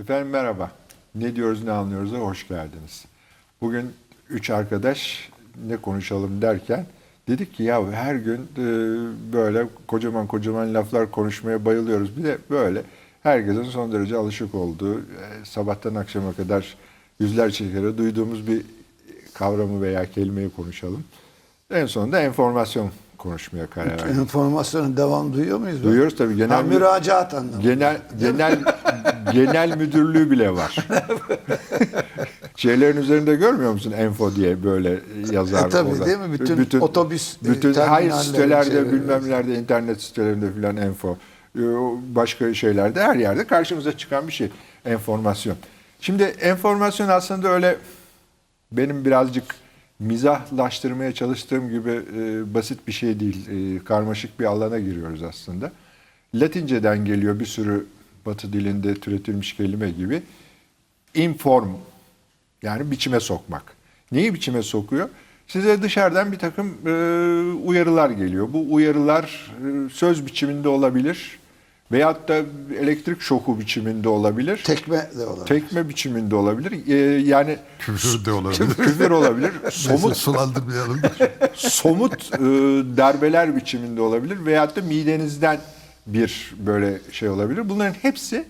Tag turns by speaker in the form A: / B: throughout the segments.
A: Efendim merhaba. Ne diyoruz ne anlıyoruz da hoş geldiniz. Bugün üç arkadaş ne konuşalım derken dedik ki ya her gün e, böyle kocaman kocaman laflar konuşmaya bayılıyoruz. Bir de böyle herkesin son derece alışık olduğu e, sabahtan akşama kadar yüzlerce kere duyduğumuz bir kavramı veya kelimeyi konuşalım. En sonunda enformasyon konuşmaya karar verdik.
B: Enformasyonun devam duyuyor muyuz?
A: Duyuyoruz tabii. Genel
B: Genel ha,
A: mü-
B: müracaat anlamı.
A: Genel genel genel müdürlüğü bile var. Şeylerin üzerinde görmüyor musun Enfo diye böyle yazar
B: E tabii
A: olan.
B: değil mi? Bütün otobüs, e,
A: bütün hayır
B: terminallerin
A: sitelerde
B: şeyleri.
A: bilmem nerede internet sitelerinde filan Enfo. Ee, o Başka şeylerde her yerde karşımıza çıkan bir şey enformasyon. Şimdi enformasyon aslında öyle benim birazcık mizahlaştırmaya çalıştığım gibi e, basit bir şey değil. E, karmaşık bir alana giriyoruz aslında. Latinceden geliyor bir sürü Batı dilinde türetilmiş kelime gibi. Inform yani biçime sokmak. Neyi biçime sokuyor? Size dışarıdan bir takım e, uyarılar geliyor. Bu uyarılar e, söz biçiminde olabilir veyahut da elektrik şoku biçiminde olabilir.
B: Tekme de olabilir.
A: Tekme biçiminde olabilir. E, yani
C: Küfür de olabilir.
A: küfür olabilir.
C: Neyse,
A: Somut
C: sulandırmayalım.
A: somut e, darbeler biçiminde olabilir veyahut da midenizden bir böyle şey olabilir. Bunların hepsi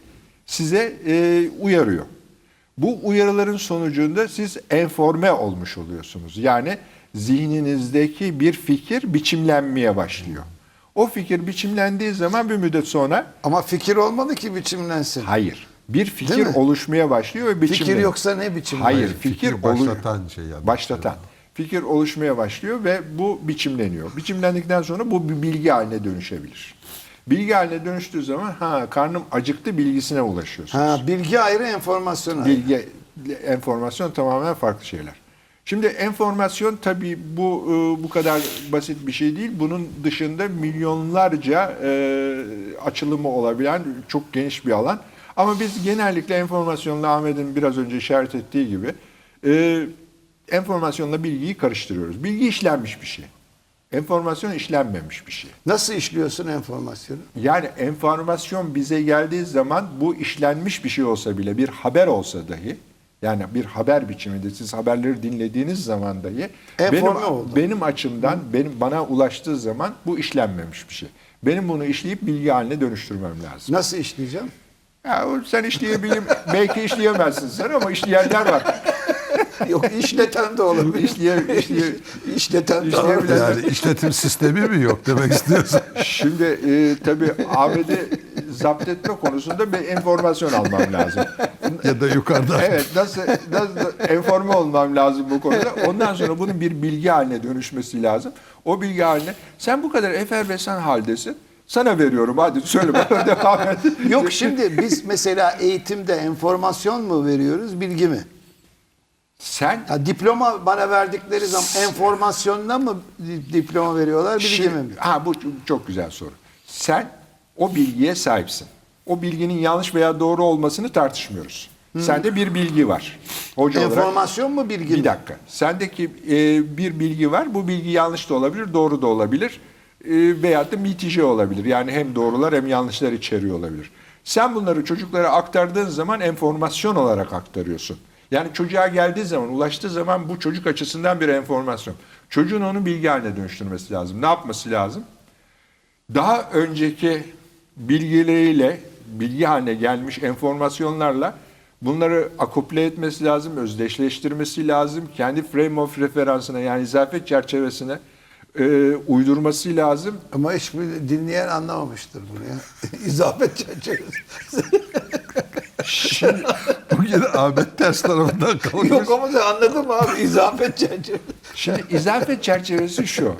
A: size e, uyarıyor. Bu uyarıların sonucunda siz enforme olmuş oluyorsunuz. Yani zihninizdeki bir fikir biçimlenmeye başlıyor. O fikir biçimlendiği zaman bir müddet sonra
B: Ama fikir olmadı ki biçimlensin.
A: hayır. Bir
B: Değil
A: fikir
B: mi?
A: oluşmaya başlıyor ve biçimleniyor.
B: Fikir yoksa ne biçim?
A: Hayır,
C: Hayır,
A: fikir,
C: fikir başlatan
A: olu-
C: şey yani.
A: Başlatan. Fikir oluşmaya başlıyor ve bu biçimleniyor. Biçimlendikten sonra bu bir bilgi haline dönüşebilir. Bilgi haline dönüştüğü zaman ha karnım acıktı bilgisine ulaşıyorsunuz.
B: Ha, bilgi ayrı, enformasyon ayrı.
A: Bilgi, enformasyon tamamen farklı şeyler. Şimdi enformasyon tabii bu e, bu kadar basit bir şey değil. Bunun dışında milyonlarca e, açılımı olabilen çok geniş bir alan. Ama biz genellikle enformasyonla Ahmet'in biraz önce işaret ettiği gibi e, enformasyonla bilgiyi karıştırıyoruz. Bilgi işlenmiş bir şey. Enformasyon işlenmemiş bir şey.
B: Nasıl işliyorsun enformasyonu?
A: Yani enformasyon bize geldiği zaman bu işlenmiş bir şey olsa bile bir haber olsa dahi yani bir haber biçiminde siz haberleri dinlediğiniz zaman dahi benim,
B: Enforme oldu.
A: benim açımdan benim bana ulaştığı zaman bu işlenmemiş bir şey. Benim bunu işleyip bilgi haline dönüştürmem lazım.
B: Nasıl işleyeceğim?
A: Ya o- sen işleyebileyim belki işleyemezsin sen ama işleyenler var.
B: Yok işleten de olabilir.
A: İşleye- işleye-
B: işleten de
A: İşleyebilen-
B: olabilir.
C: yani işletim sistemi mi yok demek istiyorsun?
A: Şimdi e, tabii ABD zapt etme konusunda bir enformasyon almam lazım.
C: ya da yukarıdan.
A: Evet nasıl, nasıl enforme olmam lazım bu konuda. Ondan sonra bunun bir bilgi haline dönüşmesi lazım. O bilgi haline sen bu kadar efervesen haldesin. Sana veriyorum hadi söyle bana devam et.
B: Yok şimdi biz mesela eğitimde enformasyon mu veriyoruz, bilgi mi?
A: Sen
B: Ya diploma bana verdikleri zaman enformasyonla mı di- diploma veriyorlar, bilgi
A: Şimdi-
B: mi?
A: Ha bu ç- çok güzel soru. Sen o bilgiye sahipsin. O bilginin yanlış veya doğru olmasını tartışmıyoruz. Sende bir bilgi var. Hoca olarak
B: Enformasyon mu bilgi mi?
A: Bir dakika. Sendeki e, bir bilgi var. Bu bilgi yanlış da olabilir, doğru da olabilir. E, veyahut da mitije olabilir. Yani hem doğrular hem yanlışlar içeriyor olabilir. Sen bunları çocuklara aktardığın zaman enformasyon olarak aktarıyorsun. Yani çocuğa geldiği zaman, ulaştığı zaman bu çocuk açısından bir enformasyon. Çocuğun onu bilgi haline dönüştürmesi lazım. Ne yapması lazım? daha önceki bilgileriyle, bilgi haline gelmiş enformasyonlarla bunları akuple etmesi lazım, özdeşleştirmesi lazım. Kendi frame of referansına yani izafet çerçevesine e, uydurması lazım.
B: Ama hiçbir dinleyen anlamamıştır bunu ya. İzafet çerçevesi.
C: Bugün Ahmet ters tarafından kalkıyor.
B: Yok ama sen anladın mı abi? İzafet çerçevesi.
A: Şimdi izafet çerçevesi şu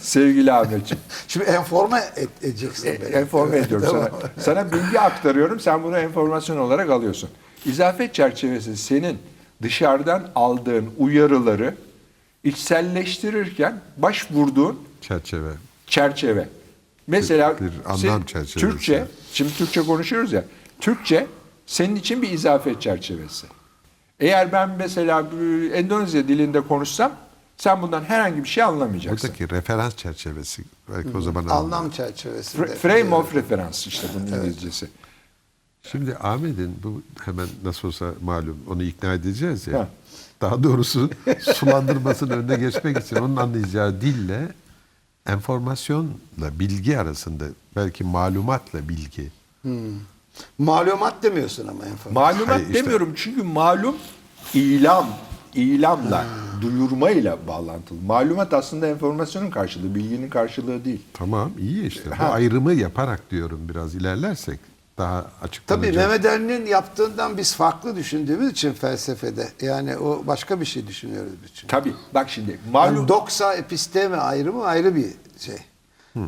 A: sevgili Ahmetciğim.
B: Şimdi enforme et, edeceksin.
A: E,
B: beni.
A: enforme ediyorum
B: Tamam.
A: sana. Sana bilgi aktarıyorum. Sen bunu enformasyon olarak alıyorsun. İzafet çerçevesi senin dışarıdan aldığın uyarıları içselleştirirken başvurduğun
C: Çerçeve.
A: çerçeve. Mesela
C: Bir- bir anlam
A: sen-
C: çerçevesi.
A: Türkçe, şimdi Türkçe konuşuyoruz ya. Türkçe senin için bir izafet çerçevesi. Eğer ben mesela e, Endonezya dilinde konuşsam sen bundan herhangi bir şey anlamayacaksın.
C: Buradaki referans çerçevesi.
B: e,
C: Belki o zaman anlar.
B: Anlam çerçevesinde.
A: Fra- Frame of reference işte bunun İngilizcesi.
C: Şimdi Ahmet'in bu hemen nasıl olsa malum onu ikna edeceğiz ya.
A: Ha.
C: Daha doğrusu sulandırmasının önüne geçmek için onun anlayacağı dille enformasyonla bilgi arasında belki malumatla bilgi.
B: Malumat demiyorsun ama enformasyon.
A: Malumat
C: Hayır, işte-
A: demiyorum çünkü malum ilam, ilamla, duyurmayla bağlantılı. Malumat aslında enformasyonun karşılığı, bilginin karşılığı değil.
C: Tamam iyi işte. Bu
A: Ha.
C: ayrımı yaparak diyorum biraz ilerlersek daha
B: Tabii
C: açıklanacak.
B: Mehmet Ali'nin yaptığından biz farklı düşündüğümüz için felsefede. Yani o başka bir şey düşünüyoruz biz çünkü.
A: Tabii. Bak şimdi
B: Yani
A: malum
B: doksa episteme ayrımı ayrı bir şey.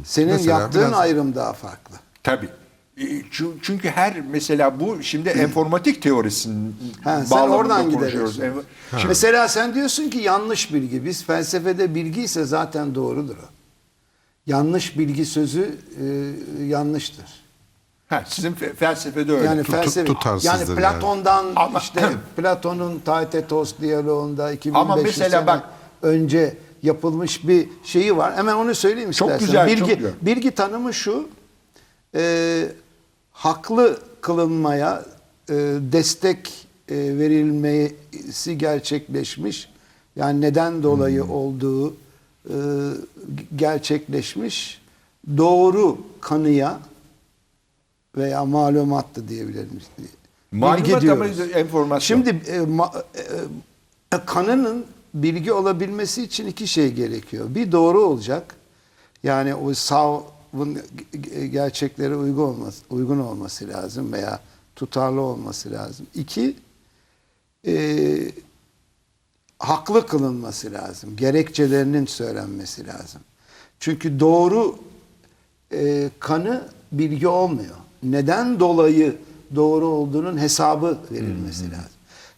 B: Senin
C: Mesela
B: yaptığın
C: biraz-
B: ayrım daha farklı.
A: tabii. E, çü- Çünkü her mesela bu şimdi enformatik teorisinin
B: Ha, sen
A: bağlamında
B: oradan
A: konuşuyoruz.
B: gideriyorsun.
A: Enf- Şimdi
B: Mesela sen diyorsun ki yanlış bilgi. Biz felsefede bilgi ise zaten doğrudur o. Yanlış bilgi sözü e, yanlıştır.
A: ha, sizin fe- felsefede öyle.
B: Yani
C: Tut-
B: felsefe yani
C: tutarsızdır yani.
B: Platon'dan
A: Ama-
B: işte Platon'un Taitetos diyaloğunda 2500
A: Ama mesela
B: sene
A: bak-
B: önce yapılmış bir şeyi var. Hemen onu söyleyeyim
A: Çok
B: istersen.
A: güzel,
B: bilgi,
A: çok güzel.
B: bilgi tanımı şu. e, haklı kılınmaya e, destek e, verilmesi gerçekleşmiş. Yani neden dolayı
C: Hmm.
B: olduğu e, gerçekleşmiş. Doğru kanıya veya malumat da diyebilirim.
A: Malumat ama enformasyon.
B: Şimdi e, ma- e, kanının bilgi olabilmesi için iki şey gerekiyor. Bir doğru olacak. Yani o savun gerçeklere uygun olması, uygun olması lazım veya tutarlı olması lazım. İki, e, haklı kılınması lazım. Gerekçelerinin söylenmesi lazım. Çünkü doğru e, kanı bilgi olmuyor. Neden dolayı doğru olduğunun hesabı verilmesi lazım.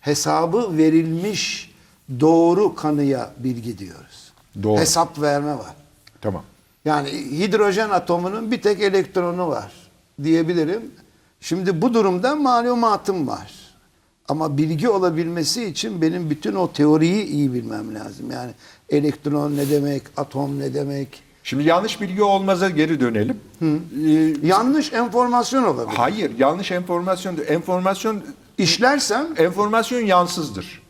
B: Hesabı verilmiş doğru kanıya bilgi diyoruz.
A: Doğru.
B: Hesap verme var.
A: Tamam.
B: Yani hidrojen atomunun bir tek elektronu var diyebilirim. Şimdi bu durumda malumatım var. Ama bilgi olabilmesi için benim bütün o teoriyi iyi bilmem lazım. Yani elektron ne demek, atom ne demek.
A: Şimdi yanlış bilgi olmaza geri dönelim. Ee,
B: Yanlış enformasyon olabilir.
A: hayır, yanlış enformasyon. Enformasyon
B: İşlersem
A: Enformasyon yansızdır.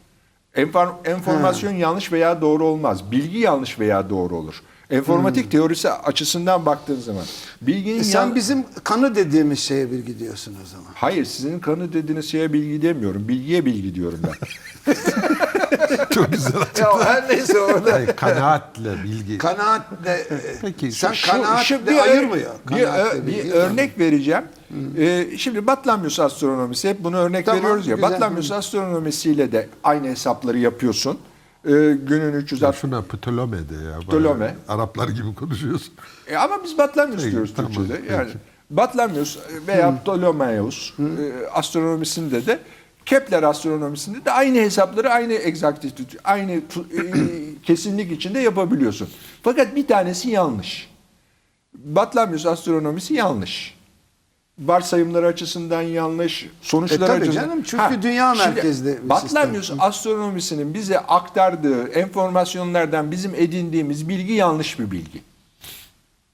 A: Enfor- enformasyon yanlış veya doğru olmaz. Bilgi yanlış veya doğru olur. Enformatik teorisi açısından baktığın zaman bilginin
B: Hmm. e, sen
A: yan-
B: bizim kanı dediğimiz şeye bilgi diyorsun o zaman.
A: Hayır, sizin kanı dediğiniz şeye bilgi demiyorum. Bilgiye bilgi diyorum ben.
C: Çok güzel.
B: Ya her neyse orada
C: Hayır, kanaatle bilgi.
B: kanaatle
C: Peki, şu-
B: sen
A: Şu-
B: kanaatle
A: şu bir ör-
B: ayırmıyor.
A: Bir, ö- bir
B: Kanaatle bilgi
A: örnek vereceğim. Ee, şimdi Batlamyus astronomisi hep bunu örnek
B: Tamam,
A: veriyoruz ya.
B: güzel.
A: Batlamyus astronomisiyle de aynı hesapları yapıyorsun. Ee, günün 360
C: Şuna Ptolome de ya. Bayağı
A: Ptolome.
C: Araplar gibi konuşuyorsun.
A: E ama biz Batlamyus
C: Peki,
A: diyoruz
C: tamam,
A: Türkçe'de.
C: peki.
A: Yani Batlamyus e, veya Ptolomeus e, astronomisinde de Kepler astronomisinde de aynı hesapları aynı exactitude, aynı tu- e, kesinlik içinde yapabiliyorsun. Fakat bir tanesi yanlış. Batlamyus astronomisi yanlış. Varsayımları açısından yanlış, sonuçları
B: E tabii
A: açısından...
B: canım, çünkü dünya
A: şimdi
B: merkezli bir
A: Batlamyus
B: sistem.
A: astronomisinin bize aktardığı enformasyonlardan bizim edindiğimiz bilgi yanlış bir bilgi.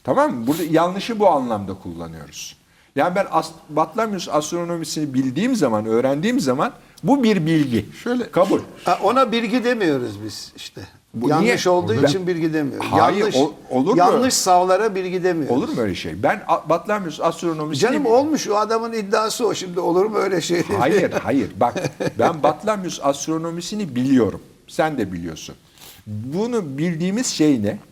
A: Tamam mı? Burada yanlışı bu anlamda kullanıyoruz. Yani ben as- Batlamyus astronomisini bildiğim zaman, öğrendiğim zaman bu bir bilgi. Şöyle kabul.
B: Ha, Ona bilgi demiyoruz biz işte.
A: Bu
B: yanlış
A: niye?
B: olduğu
A: Olur mu?
B: için bilgi demiyoruz.
A: Hayır,
B: yanlış,
A: ol- olur mu?
B: Yanlış savlara bilgi demiyoruz.
A: Olur mu şey öyle şey? Ben a- Batlamyus astronomisini
B: Canım olmuş o adamın iddiası o. Şimdi olur mu öyle şey?
A: Hayır, hayır. Bak ben Batlamyus astronomisini biliyorum. Sen de biliyorsun. Bunu bildiğimiz şey ne?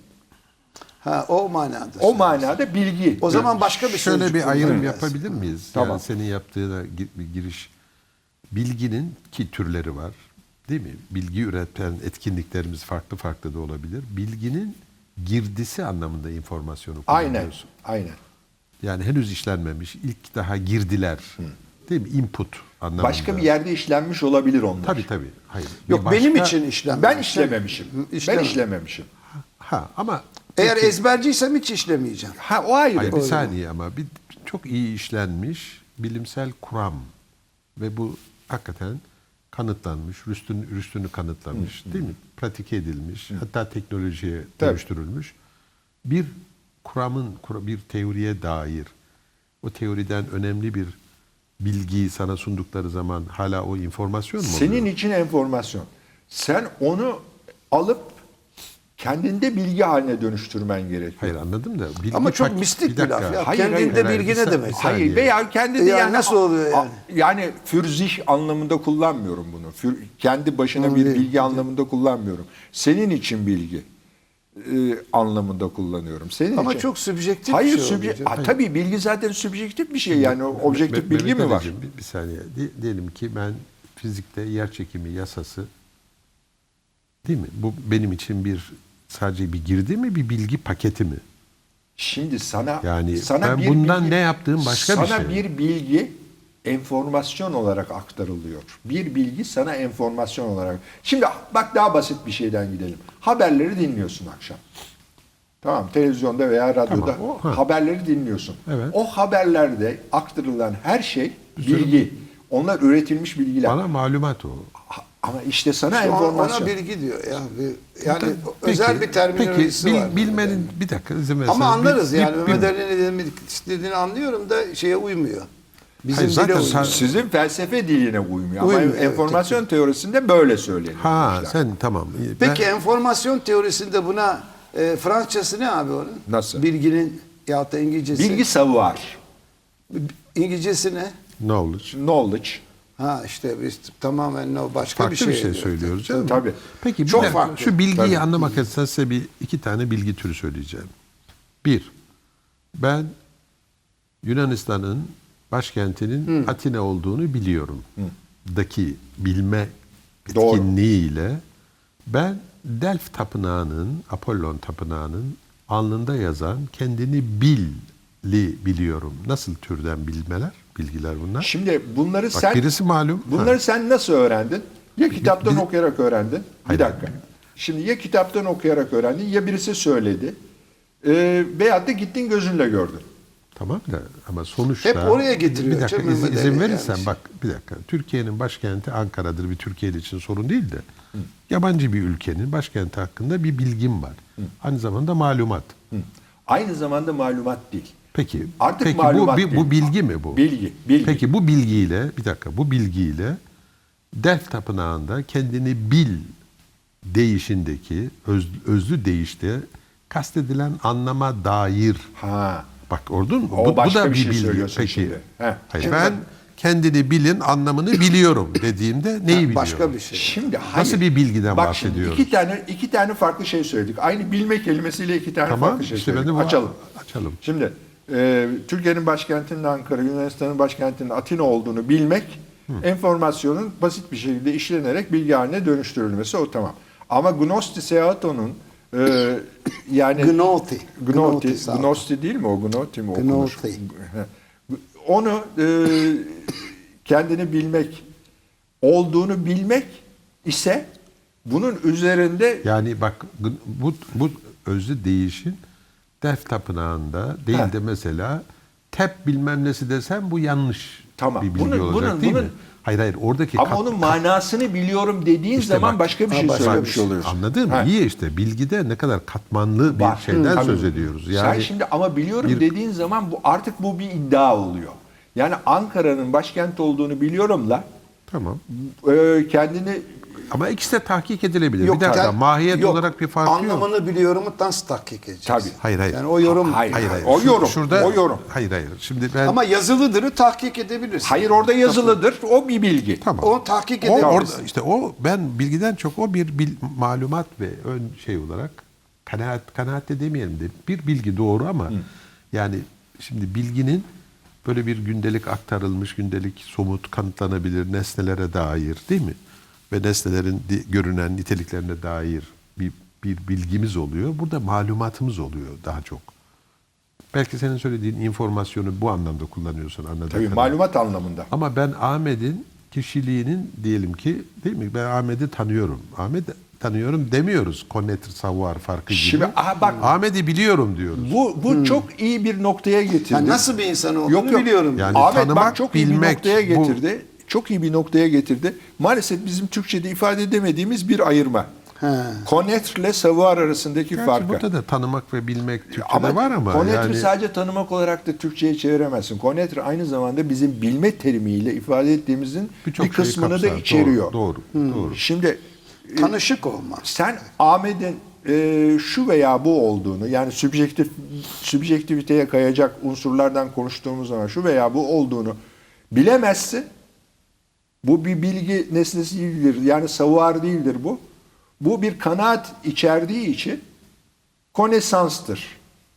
B: Ha, o manada.
A: O manada bilgi.
B: O zaman başka bir şey
C: Şöyle
B: sözcük
C: bir ayrım
B: kullanacağız.
C: yapabilir miyiz?
A: Tamam.
C: Yani senin yaptığına gi- bir giriş. Bilginin ki türleri var. Değil mi? Bilgi üreten etkinliklerimiz farklı farklı da olabilir. Bilginin girdisi anlamında informasyonu
A: aynen.
C: kullanıyorsun.
A: Aynen.
C: Yani henüz işlenmemiş, ilk daha girdiler. Değil mi? Input anlamında.
A: Başka bir yerde işlenmiş olabilir onlar.
C: Tabii tabii. Hayır. Bir
B: Yok benim
C: başka-
B: için işlem.
A: Ben işlememişim. Ben
B: İşlememiş.
A: işlememişim.
C: Ha ama
B: Eğer ezberciysem hiç işlemeyeceğim.
A: Ha o ayrı.
C: Hayır, bir saniye ama bir çok iyi işlenmiş bilimsel kuram ve bu hakikaten kanıtlanmış, rüstün, rüstünü kanıtlanmış değil mi? Pratik edilmiş, hatta teknolojiye
A: Tabii.
C: dönüştürülmüş. Bir kuramın, kura- bir teoriye dair o teoriden önemli bir bilgiyi sana sundukları zaman hala o informasyon mu
A: Senin
C: oluyor?
A: için enformasyon. Sen onu alıp kendinde bilgi haline dönüştürmen gerekiyor.
C: Hayır anladım da. bilgi
B: Ama çok
C: paket-
B: mistik bir
C: dakika.
B: laf ya.
A: Hayır,
B: Kendinde
C: hayır,
B: bilgi
C: hayır.
B: ne demek?
C: Bir
A: Hayır
C: saniye.
A: veya kendi de
B: Ya nasıl oluyor yani?
A: a- yani fürzih anlamında kullanmıyorum bunu. Für- kendi başına
B: Tamam,
A: bir
B: değil.
A: bilgi anlamında kullanmıyorum. Senin için bilgi e, anlamında kullanıyorum. Senin
B: Ama
A: için-
B: çok sübjektif
A: Hayır,
B: bir şey
A: subje-
B: oluyor.
A: Aa, tabii bilgi zaten sübjektif bir şey yani o objektif
C: Me-
A: bilgi
C: Mehmet
A: mi var?
C: Ali'cim, Bir, bir saniye. Di- diyelim ki ben fizikte yer çekimi yasası değil mi? Bu benim için bir sadece bir girdi mi bir bilgi paketi mi?
A: Şimdi sana
C: Yani
A: sana
C: ben
A: bir
C: bundan
A: bilgi-
C: ne yaptığım başka bir şey.
A: Sana bir bilgi enformasyon olarak aktarılıyor. Bir bilgi sana enformasyon olarak. Şimdi bak daha basit bir şeyden gidelim. Haberleri dinliyorsun akşam. Tamam televizyonda veya radyoda
C: Tamam, o- ha.
A: haberleri dinliyorsun.
C: Evet.
A: O haberlerde aktarılan her şey bilgi. Onlar üretilmiş bilgiler.
C: Bana malumat o.
A: Ha- Ama işte sana
B: Ona-
A: enformasyon.
B: Ona bilgi diyor. ya. Bir- Yani
C: Tabii,
B: özel
C: peki,
B: bir terminolojisi
C: peki, bil-
B: var.
C: Bilmenin bir dakika izin verirseniz.
B: Ama anlarız
C: Bil-
B: yani.
C: bil-
B: Mehmet Ali'nin ne demek istediğini anlıyorum da şeye uymuyor. Bizim
C: Hayır,
B: dile
C: zaten
B: uymuyor.
C: sen-
A: Sizin felsefe diline uymuyor. Ama
B: Uymuyor, evet,
A: enformasyon teorisinde böyle söyleniyor.
C: Ha
A: işte.
C: sen tamam. Ben-
B: Peki enformasyon teorisinde buna e, Fransızcası ne abi onun?
A: Nasıl?
B: Bilginin ya da İngilizcesi.
A: Bilgi savuar.
B: İngilizcesi ne?
C: knowledge.
A: Knowledge.
B: Ha işte biz tamamen no başka
C: Farklı
B: bir şey, diyor.
C: söylüyoruz canım.
A: Tabii.
C: Peki bir
B: Çok
C: dakika,
B: farklı.
C: şu bilgiyi
A: Tabii.
C: anlamak açısından size bir iki tane bilgi türü söyleyeceğim. Bir, ben Yunanistan'ın başkentinin Atina olduğunu biliyorum. Daki bilme
A: Doğru.
C: etkinliğiyle ben Delf Tapınağı'nın, Apollon Tapınağı'nın alnında yazan kendini billi biliyorum. Nasıl türden bilmeler, bilgiler bunlar?
A: Şimdi bunları
C: Bak
A: sen
C: birisi malum.
A: bunları
C: Ha.
A: sen nasıl öğrendin? Ya kitaptan
C: bir-
A: okuyarak öğrendin. Bir
C: Hayır.
A: dakika. Şimdi ya kitaptan okuyarak öğrendin ya birisi söyledi. Ee, veyahut da gittin gözünle gördün.
C: Tamam da ama sonuçta...
B: Hep oraya getiriyor
C: Bir dakika
B: canım
C: iz-
B: Mehmet
C: izin
B: Ali
C: verirsen
B: yani.
C: bak bir dakika. Türkiye'nin başkenti Ankara'dır bir Türkiye'li için sorun değil de. Yabancı bir ülkenin başkenti hakkında bir bilgim var. Aynı zamanda malumat.
A: Aynı zamanda malumat değil.
C: Peki.
A: Artık
C: peki
A: malumat
C: bu, bi-
A: değil.
C: bu bilgi mi bu?
A: Bilgi, bilgi.
C: Peki bu bilgiyle bir dakika bu bilgiyle Delf Tapınağı'nda kendini bil değişindeki öz, özlü değişte kastedilen anlama dair
A: Ha.
C: Bak ordun mu?
A: O
C: Bu, bu
A: başka
C: da
A: bir
C: bir
A: şey
C: bilgi.
A: söylüyorsun
C: Peki.
A: şimdi. Heh.
C: Hayır,
A: Şimdi
C: ben
A: bak-
C: kendini bilin anlamını biliyorum dediğimde neyi biliyorum?
B: Başka bir şey.
A: Şimdi hayır.
C: Nasıl bir bilgiden
A: Bak şimdi
C: bahsediyoruz?
A: iki tane iki tane farklı şey söyledik. Aynı bilme kelimesiyle iki tane
C: Tamam,
A: farklı şey
C: işte ben de
A: söyledik.
C: bu-
A: açalım.
C: açalım.
A: Şimdi e, Türkiye'nin başkentinin Ankara, Yunanistan'ın başkentinin Atina olduğunu bilmek enformasyonun basit bir şekilde işlenerek bilgi haline dönüştürülmesi o tamam. Ama Gnosti Seato'nun e, yani
B: Gnoti.
A: Gnoti,
B: Gnoti Seato.
A: Gnosti değil mi o Gnoti mi okunur?
B: Gnoti.
A: Onu e, kendini bilmek olduğunu bilmek ise bunun üzerinde
C: Yani bak gın- bu, bu özlü değişin Delf Tapınağı'nda değil
A: Ha.
C: de mesela tep bilmem nesi desem bu yanlış
A: Tamam,
C: bir bilgi
A: bunun-
C: olacak
A: bunun-
C: değil mi?
A: bunun-
C: Hayır hayır oradaki
A: Ama
C: kat-
A: onun manasını biliyorum dediğin
C: İşte
A: zaman
C: bak-
A: başka bir
B: Ha,
A: şey
B: başka
A: söylemiş
B: bir şey.
A: oluyorsun.
C: Anladın mı?
A: Ha.
C: İyi işte bilgide ne kadar katmanlı bir
A: Var.
C: şeyden
A: Tabii.
C: söz ediyoruz.
A: Sen
C: Yani
A: şimdi ama biliyorum
C: bir-
A: dediğin zaman bu artık bu bir iddia oluyor. Yani Ankara'nın başkent olduğunu biliyorumla
C: tamam.
A: e, kendini
C: Ama ikisi de tahkik edilebilir.
B: Yok,
C: bir dakika
B: yani-
C: mahiyet
B: yok,
C: olarak bir farkı yok.
B: Anlamını biliyorumu dans tahkik edeceğiz.
A: Tabii.
C: Hayır, hayır.
B: Yani o yorum.
A: Hayır,
C: Hayır hayır.
A: O
C: Şu-
A: yorum,
C: Şurada,
A: o yorum.
C: Hayır hayır. Şimdi ben
B: Ama yazılıdırı tahkik edebilirsin.
A: hayır orada yazılıdır. O bir bilgi.
C: tamam.
B: Onu tahkik
C: O
B: edebilirsin.
C: orada işte o ben bilgiden çok o bir bil- malumat ve ön şey olarak kanaat kanaat de demeyelim de bir bilgi doğru ama yani şimdi bilginin böyle bir gündelik aktarılmış gündelik somut kanıtlanabilir nesnelere dair değil mi? Ve nesnelerin di- görünen niteliklerine dair bir bir bilgimiz oluyor. Burada malumatımız oluyor daha çok. Belki senin söylediğin informasyonu bu anlamda kullanıyorsun anladığım
A: Tabii
C: kadarıyla.
A: malumat anlamında.
C: Ama ben Ahmet'in kişiliğinin diyelim ki değil mi? Ben Ahmet'i tanıyorum. Ahmet tanıyorum demiyoruz. Connector savoir farkı gibi.
A: Şimdi, aha bak-
C: Ahmet'i biliyorum diyoruz.
A: Bu bu çok iyi bir noktaya getirdi.
B: Yani Hmm. nasıl bir insan olduğunu
A: Yok, yok.
B: biliyorum.
C: Yani-
A: Ahmet bak
C: tanımak,
A: çok iyi bir
C: bilmek,
A: noktaya
C: bu-
A: getirdi. Çok iyi bir noktaya getirdi. Maalesef bizim Türkçe'de ifade edemediğimiz bir ayırma. Connaître ile savoir arasındaki
C: Gerçi
A: farkı.
C: burada da tanımak ve bilmek Türkçe'de
A: Ama
C: var ama
A: Connaître'ı
C: yani
A: sadece tanımak olarak da Türkçe'ye çeviremezsin. Connaître aynı zamanda bizim bilme terimiyle ifade ettiğimizin
C: birçok
A: bir
C: şeyi
A: kısmını
C: kapsar.
A: da
C: Doğru,
A: içeriyor. Hmm.
C: Doğru, doğru.
A: Şimdi e,
B: Tanışık olmaz.
A: sen Ahmet'in e, şu veya bu olduğunu yani subjektif subjektiviteye kayacak unsurlardan konuştuğumuz zaman şu veya bu olduğunu bilemezsin. Bu bir bilgi nesnesi değildir. Yani savuar değildir bu. Bu bir kanaat içerdiği için konesanstır.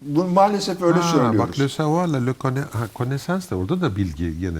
A: Bu maalesef öyle
C: Ha,
A: söylüyoruz.
C: Bak Le Savoir, Le Conna- ha, Connaissance da orada da bilgi yine.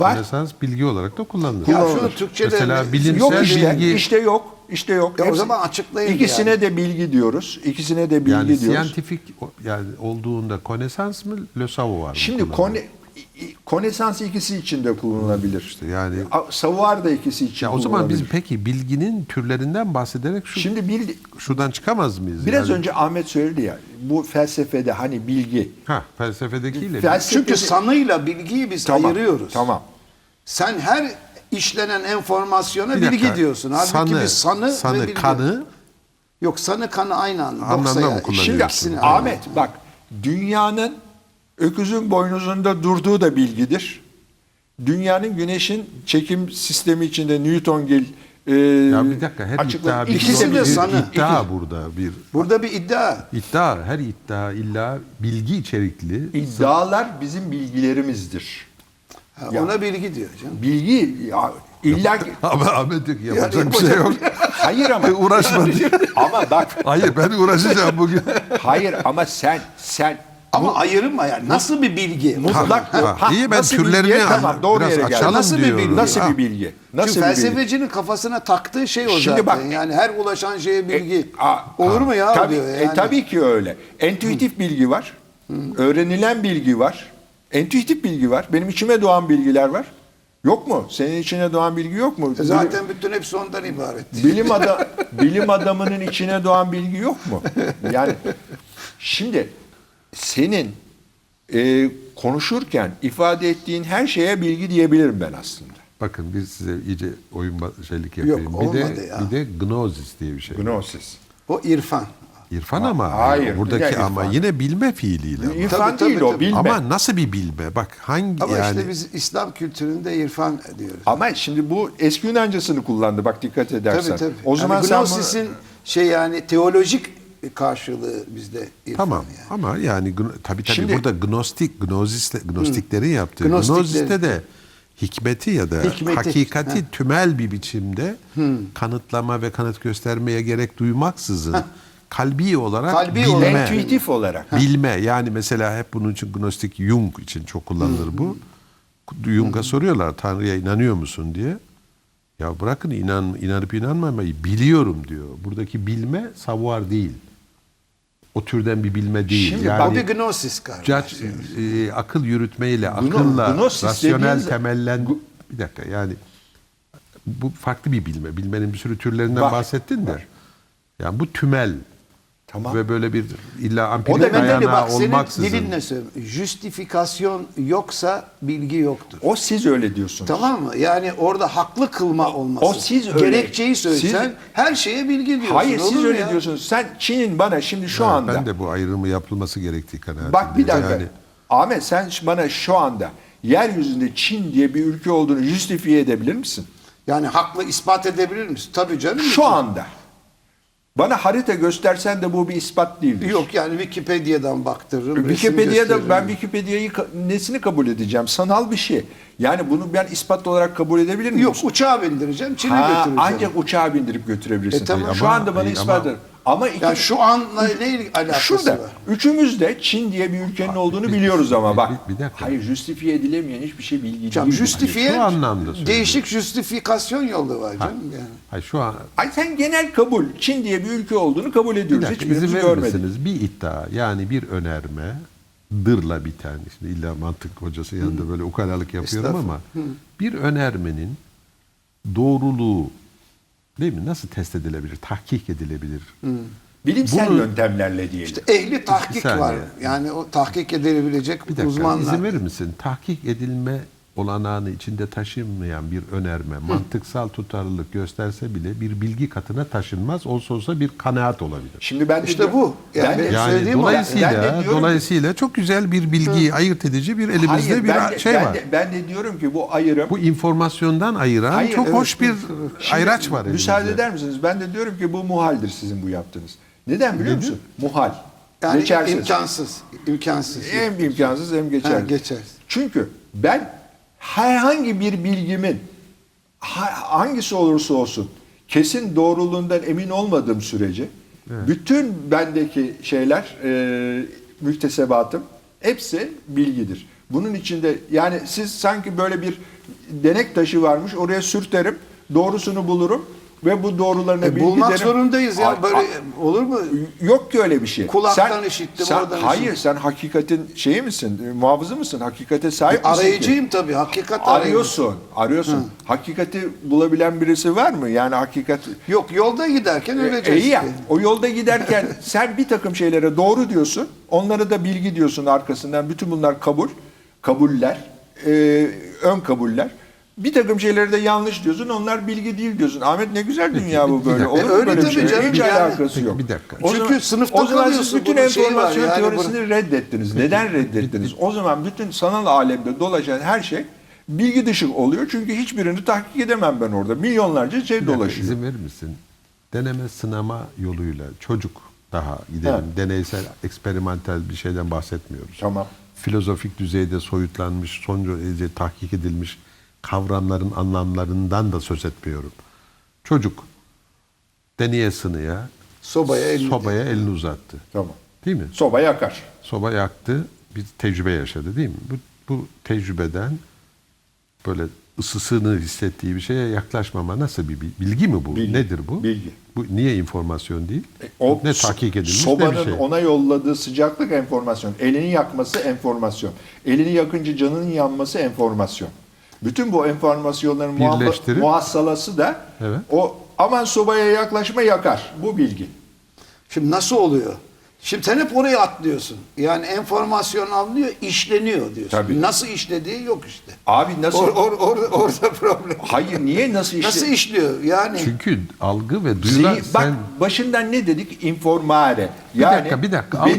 A: Var.
C: Connaissance bilgi olarak da kullanılır.
B: Ya
A: Kullanılır.
B: şunu Türkçe'de
C: Mesela bilimsel
A: yok işte,
C: bilgi,
A: işte yok, işte yok.
B: Ya o
A: Hepsi-
B: zaman açıklayın
A: İkisine
B: yani.
A: de bilgi diyoruz. İkisine de bilgi
C: yani
A: diyoruz.
C: scientific o- yani olduğunda Connaissance mı, Le Savoir mı?
A: Şimdi
C: kullanılır?
A: kone, i- i- konesans ikisi için de kullanılabilir. işte.
C: yani-
A: savuar da ikisi için.
C: ya o zaman biz
A: kullanılabilir.
C: peki bilginin türlerinden bahsederek şu,
A: şimdi bir,
C: şuradan çıkamaz mıyız?
A: biraz
C: Yani-
A: önce Ahmet söyledi ya bu felsefede hani bilgi
C: ha felsefedekiyle
A: Felsefe-
B: Çünkü sanıyla bilgiyi biz
A: Tamam,
B: ayırıyoruz.
A: Tamam.
B: Sen her işlenen enformasyona
C: Bir
B: bilgi
C: dakika.
B: diyorsun. Halbuki
C: Sanı,
B: biz sanı,
C: sanı,
B: ve bilgi.
C: kanı.
B: Yok sanı kanı aynı anlamda.
C: Anlamda
B: Yoksa
C: mı
B: yani.
C: kullanıyorsun?
A: Şimdi
B: İkisini aynı
A: Ahmet bak dünyanın öküzün boynuzunda durduğu da bilgidir. Dünyanın güneşin çekim sistemi içinde Newtongil e,
C: Ya bir dakika her
A: açıkla-
C: iddia bir,
B: Hmm.
C: şey
B: İkisi de
C: bir
B: sanı.
C: iddia burada bir
B: Burada bir iddia.
C: iddia her iddia illa bilgi içerikli
A: İddialar bizim bilgilerimizdir.
B: Ha,
A: Ya.
B: Ona bilgi diyor canım.
A: Bilgi ya, illa ki-
C: Ama Ahmet diyor ki yapacak
B: Yani
C: bir şey yok.
A: Hayır
B: şey
A: ama
C: Uğraşma diyor.
A: ama bak
C: Hayır ben uğraşacağım bugün.
A: hayır ama sen sen
B: Ama ayırma yani. Nasıl bir bilgi?
A: mutlak
C: Ha, ha. İyi, ben
A: nasıl bir
C: türlerini
A: bilgi?
C: an-
A: tamam, doğru
C: biraz
A: yere geldi.
C: açalım
A: Nasıl bir
C: diyorum.
A: bilgi? Nasıl
C: Ha.
A: bir bilgi? Nasıl
B: Çünkü
A: bir bilgi?
B: felsefecinin kafasına taktığı şey o
A: Şimdi
B: zaten.
A: bak-
B: yani her ulaşan şeye bilgi.
A: E, a-
B: Olur mu ya
A: Tabii,
B: diyor.
A: e,
B: Yani.
A: tabii ki öyle. Entüitif bilgi var. Öğrenilen bilgi var. Entüitif bilgi var. Benim içime doğan bilgiler var. Yok mu? Senin içine doğan bilgi yok mu?
B: E, Zaten bütün hepsi ondan ibaret.
A: Bilim, ada, bilim adamının içine doğan bilgi yok mu? Yani şimdi senin e, konuşurken ifade ettiğin her şeye bilgi diyebilirim ben aslında.
C: Bakın bir size iyice oyun ba- şeylik yapayım. bir
B: olmadı
C: de
B: ya.
C: bir de gnosis diye bir şey.
A: Gnosis.
B: O irfan.
C: İrfan ama
A: Hayır,
C: buradaki
A: bir de
C: ama
A: irfan.
C: yine bilme fiiliyle. ama.
A: İrfan
B: Tabii, tabii,
A: değil o
B: tabii.
A: bilme.
C: Ama nasıl bir bilme? Bak hangi
B: Ama
C: yani
B: işte biz İslam kültüründe irfan diyoruz.
A: Ama şimdi bu eski Yunancasını kullandı bak dikkat edersen.
B: Tabii tabii.
A: O zaman
B: yani
A: sen
B: Gnosis'in şey yani teolojik karşılığı bizde irfan
C: Tamam
B: yani.
C: ama yani gno- tabii tabii
A: Şimdi-
C: burada gnostik gnozisle, gnostiklerin yaptığı
B: Gnostiklerin.
C: gnoziste de hikmeti ya da
B: Hikmeti,
C: hakikati tümel bir biçimde kanıtlama ve kanıt göstermeye gerek duymaksızın kalbi olarak
B: Kalbi
C: bilme.
B: olarak.
A: Entüitif olarak.
C: Bilme yani mesela hep bunun için gnostik Jung için çok kullanılır bu. Jung'a soruyorlar Tanrı'ya inanıyor musun diye. Ya bırakın inan inanıp inanmamayı biliyorum diyor. Buradaki bilme savoir değil. O türden bir bilme değil.
A: Şimdi
C: yani
B: O bir gnosis karşı.
C: judge, e, akıl yürütmeyle, akılla,
A: gnosis
C: rasyonel
A: dediğiniz-
C: temellen... Bir dakika yani bu farklı bir bilme. Bilmenin bir sürü türlerinden
A: Var,
C: bahsettin de.
A: var.
C: Yani bu tümel
A: Tamam.
C: ve böyle bir illa
B: O da
C: ampirik
B: bedeli bak
C: dayanağı
B: senin
C: olmaksızın.
B: dilinle söylüyorum. Justifikasyon yoksa bilgi yoktur.
A: O siz öyle diyorsunuz.
B: Tamam mı? Yani orada haklı kılma olması.
A: o siz öyle-
B: Gerekçeyi söylesen
A: Siz-
B: her şeye bilgi diyorsun.
A: Hayır
B: olur
A: siz
B: mu
A: öyle
B: ya?
A: diyorsunuz. Sen Çin'in bana şimdi şu
C: Evet,
A: anda.
C: Ben de bu ayrımı yapılması gerektiği kanaatindeyim.
A: Bak bir dakika.
C: Yani
A: Ahmet sen bana şu anda yeryüzünde Çin diye bir ülke olduğunu justifiye edebilir misin?
B: Yani haklı ispat edebilir misin? Tabii canım.
A: Şu anda. Bana harita göstersen de bu bir ispat değildir.
B: Yok yani Wikipedia'dan baktırırım. resim
A: E, Wikipedia'da
B: gösteririm.
A: ben Wikipedia'yı ka- nesini kabul edeceğim? Sanal bir şey. Yani bunu ben ispat olarak kabul edebilir miyim?
B: Yok uçağa bindireceğim, Çin'e
A: Ha,
B: götüreceğim.
A: ancak uçağa bindirip götürebilirsin.
B: E, tamam.
A: Şu
C: Ama-
A: anda bana
C: e,
A: ispat
C: ama-
A: eder. Ama iki,
B: Ya şu anla ne il- alakası
A: şurada
B: var? e,
A: üçümüz de Çin diye bir ülkenin olduğunu
C: bir-
A: biliyoruz ama
C: bir-
A: bak.
C: bir- bir dakika.
A: Hayır justifiye edilemeyen hiçbir şey bilgi değil.
B: Hocam justifiye
C: Hani Şu anlamda söylüyorum.
B: değişik justifikasyon yolu var canım yani.
C: hayır, şu an
A: Ay sen genel kabul Çin diye bir ülke olduğunu kabul
C: bir
A: ediyoruz.
C: dakika,
A: Hiçbirimiz
C: izin verir
A: görmedik.
C: misiniz? Bir iddia yani bir önerme dırla biten. Şimdi illa mantık hocası yanında böyle ukalalık yapıyorum ama bir önermenin doğruluğu değil mi? Nasıl test edilebilir? Tahkik edilebilir.
A: Bilimsel
C: Bunu-
A: yöntemlerle diyelim.
B: İşte ehli tahkik
C: saniye.
B: var. Yani o tahkik edilebilecek
C: Bir dakika
B: uzmanlar.
C: izin verir misin? Tahkik edilme olanağını içinde taşınmayan bir önerme, mantıksal tutarlılık gösterse bile bir bilgi katına taşınmaz. Olsa olsa bir kanaat olabilir.
A: Şimdi ben de
B: İşte bu. Yani
A: ben de-
B: benim
C: Yani
B: söylediğim o.
A: Ben de
C: dolayısıyla
A: diyorum ki-
C: dolayısıyla çok güzel bir bilgiyi ayırt edici bir elimizde
A: Hayır,
C: bir
A: ben de-
C: şey
A: ben
C: var.
A: De, ben de diyorum ki bu ayrım
C: Bu informasyondan ayıran
A: Hayır,
C: çok
A: evet,
C: hoş bir
A: Şimdi
C: ayraç var elimizde.
A: Müsaade eder misiniz? Ben de diyorum ki bu muhaldir sizin bu yaptığınız. Neden biliyor musun? Muhal.
B: Yani
A: geçersiz.
B: imkansız. İmkansız.
A: Hem imkansız hem geçersiz.
B: Ha, geçersiz.
A: Çünkü ben herhangi bir bilgimin ha- hangisi olursa olsun kesin doğruluğundan emin olmadığım sürece bütün bendeki şeyler e, müktesebatım hepsi bilgidir. Bunun içinde yani siz sanki böyle bir denek taşı varmış oraya sürterim doğrusunu bulurum ve bu doğrularına
B: E,
A: bilgi
B: bulmak
A: derim.
B: zorundayız
A: Ay-
B: ya. Böyle
A: ay-
B: olur mu?
A: Yok ki öyle bir şey.
B: Kulaktan
A: sen,
B: işittim,
A: sen-
B: oradan
A: Hayır
B: işittim.
A: sen hakikatin şeyi misin? e, Muhafızı mısın? Hakikate sahip misin ki?
B: Arayıcıyım tabii. Hakikat arayıcı.
A: Arıyorsun. Arıyorsun. Hakikati bulabilen birisi var mı? Yani hakikat...
B: Yok yolda giderken
A: E,
B: öleceğiz.
A: iyi ya.
B: ki.
A: O yolda giderken sen bir takım şeylere doğru diyorsun. Onlara da bilgi diyorsun arkasından. Bütün bunlar kabul. Kabuller. e, ön kabuller. Bir takım şeylere de yanlış diyorsun. Onlar bilgi değil diyorsun. Ahmet ne güzel dünya bu böyle.
C: dakika.
A: Olur mu
B: E, öyle
A: böyle bir
B: tabii
A: şey?
B: canım,
A: Hiç
B: yani.
A: alakası yok.
C: Bir dakika.
A: O
B: Çünkü
A: zaman-
B: sınıfta
A: o zaman siz
B: kalıyorsun,
A: bütün
B: bunun şeyi var
A: enformasyon
B: yani bunun-
A: teorisini reddettiniz. Neden reddettiniz? O zaman bütün sanal alemde dolaşan her şey bilgi dışı oluyor. Çünkü hiçbirini tahkik edemem ben orada. Milyonlarca şey
C: Bir dakika,
A: dolaşıyor.
C: İzin verir misin? Deneme sınama yoluyla çocuk daha gidelim.
A: Evet.
C: Deneysel, eksperimental bir şeyden bahsetmiyoruz.
A: Tamam.
C: Filozofik düzeyde soyutlanmış, son derece tahkik edilmiş kavramların anlamlarından da söz etmiyorum. Çocuk deneye sınıya
B: Sobaya elini.
C: sobaya elini uzattı.
A: Tamam.
C: Değil mi?
A: Soba yakar.
C: soba yaktı, bir tecrübe yaşadı değil mi? Bu, bu tecrübeden böyle ısısını hissettiği bir şeye yaklaşmama nasıl bir bil- bilgi mi bu?
A: Bilgi,
C: Nedir bu?
A: bilgi.
C: Bu niye informasyon değil?
A: E, o
C: ne
A: so-
C: tahkik edilmiş
A: sobanın
C: ne bir şey.
A: ona yolladığı sıcaklık enformasyon. Elini yakması enformasyon. Elini yakınca canının yanması enformasyon. Bütün bu enformasyonların muhabba-
C: Birleştirip-
A: muhassalası da
C: Evet.
A: o aman sobaya yaklaşma yakar. Bu bilgi.
B: Şimdi nasıl oluyor? Şimdi sen hep oraya atlıyorsun. Yani enformasyon alınıyor, işleniyor diyorsun.
A: Tabii.
B: Nasıl işlediği yok işte.
A: Abi nasıl
B: Or, or, or, orada problem.
A: Hayır niye nasıl işte?
B: Nasıl işliyor? Yani
C: Çünkü algı ve duyular
A: Zihin- bak
C: sen...
A: başından ne dedik? Informare.
C: Bir dakika, bir dakika.
A: beni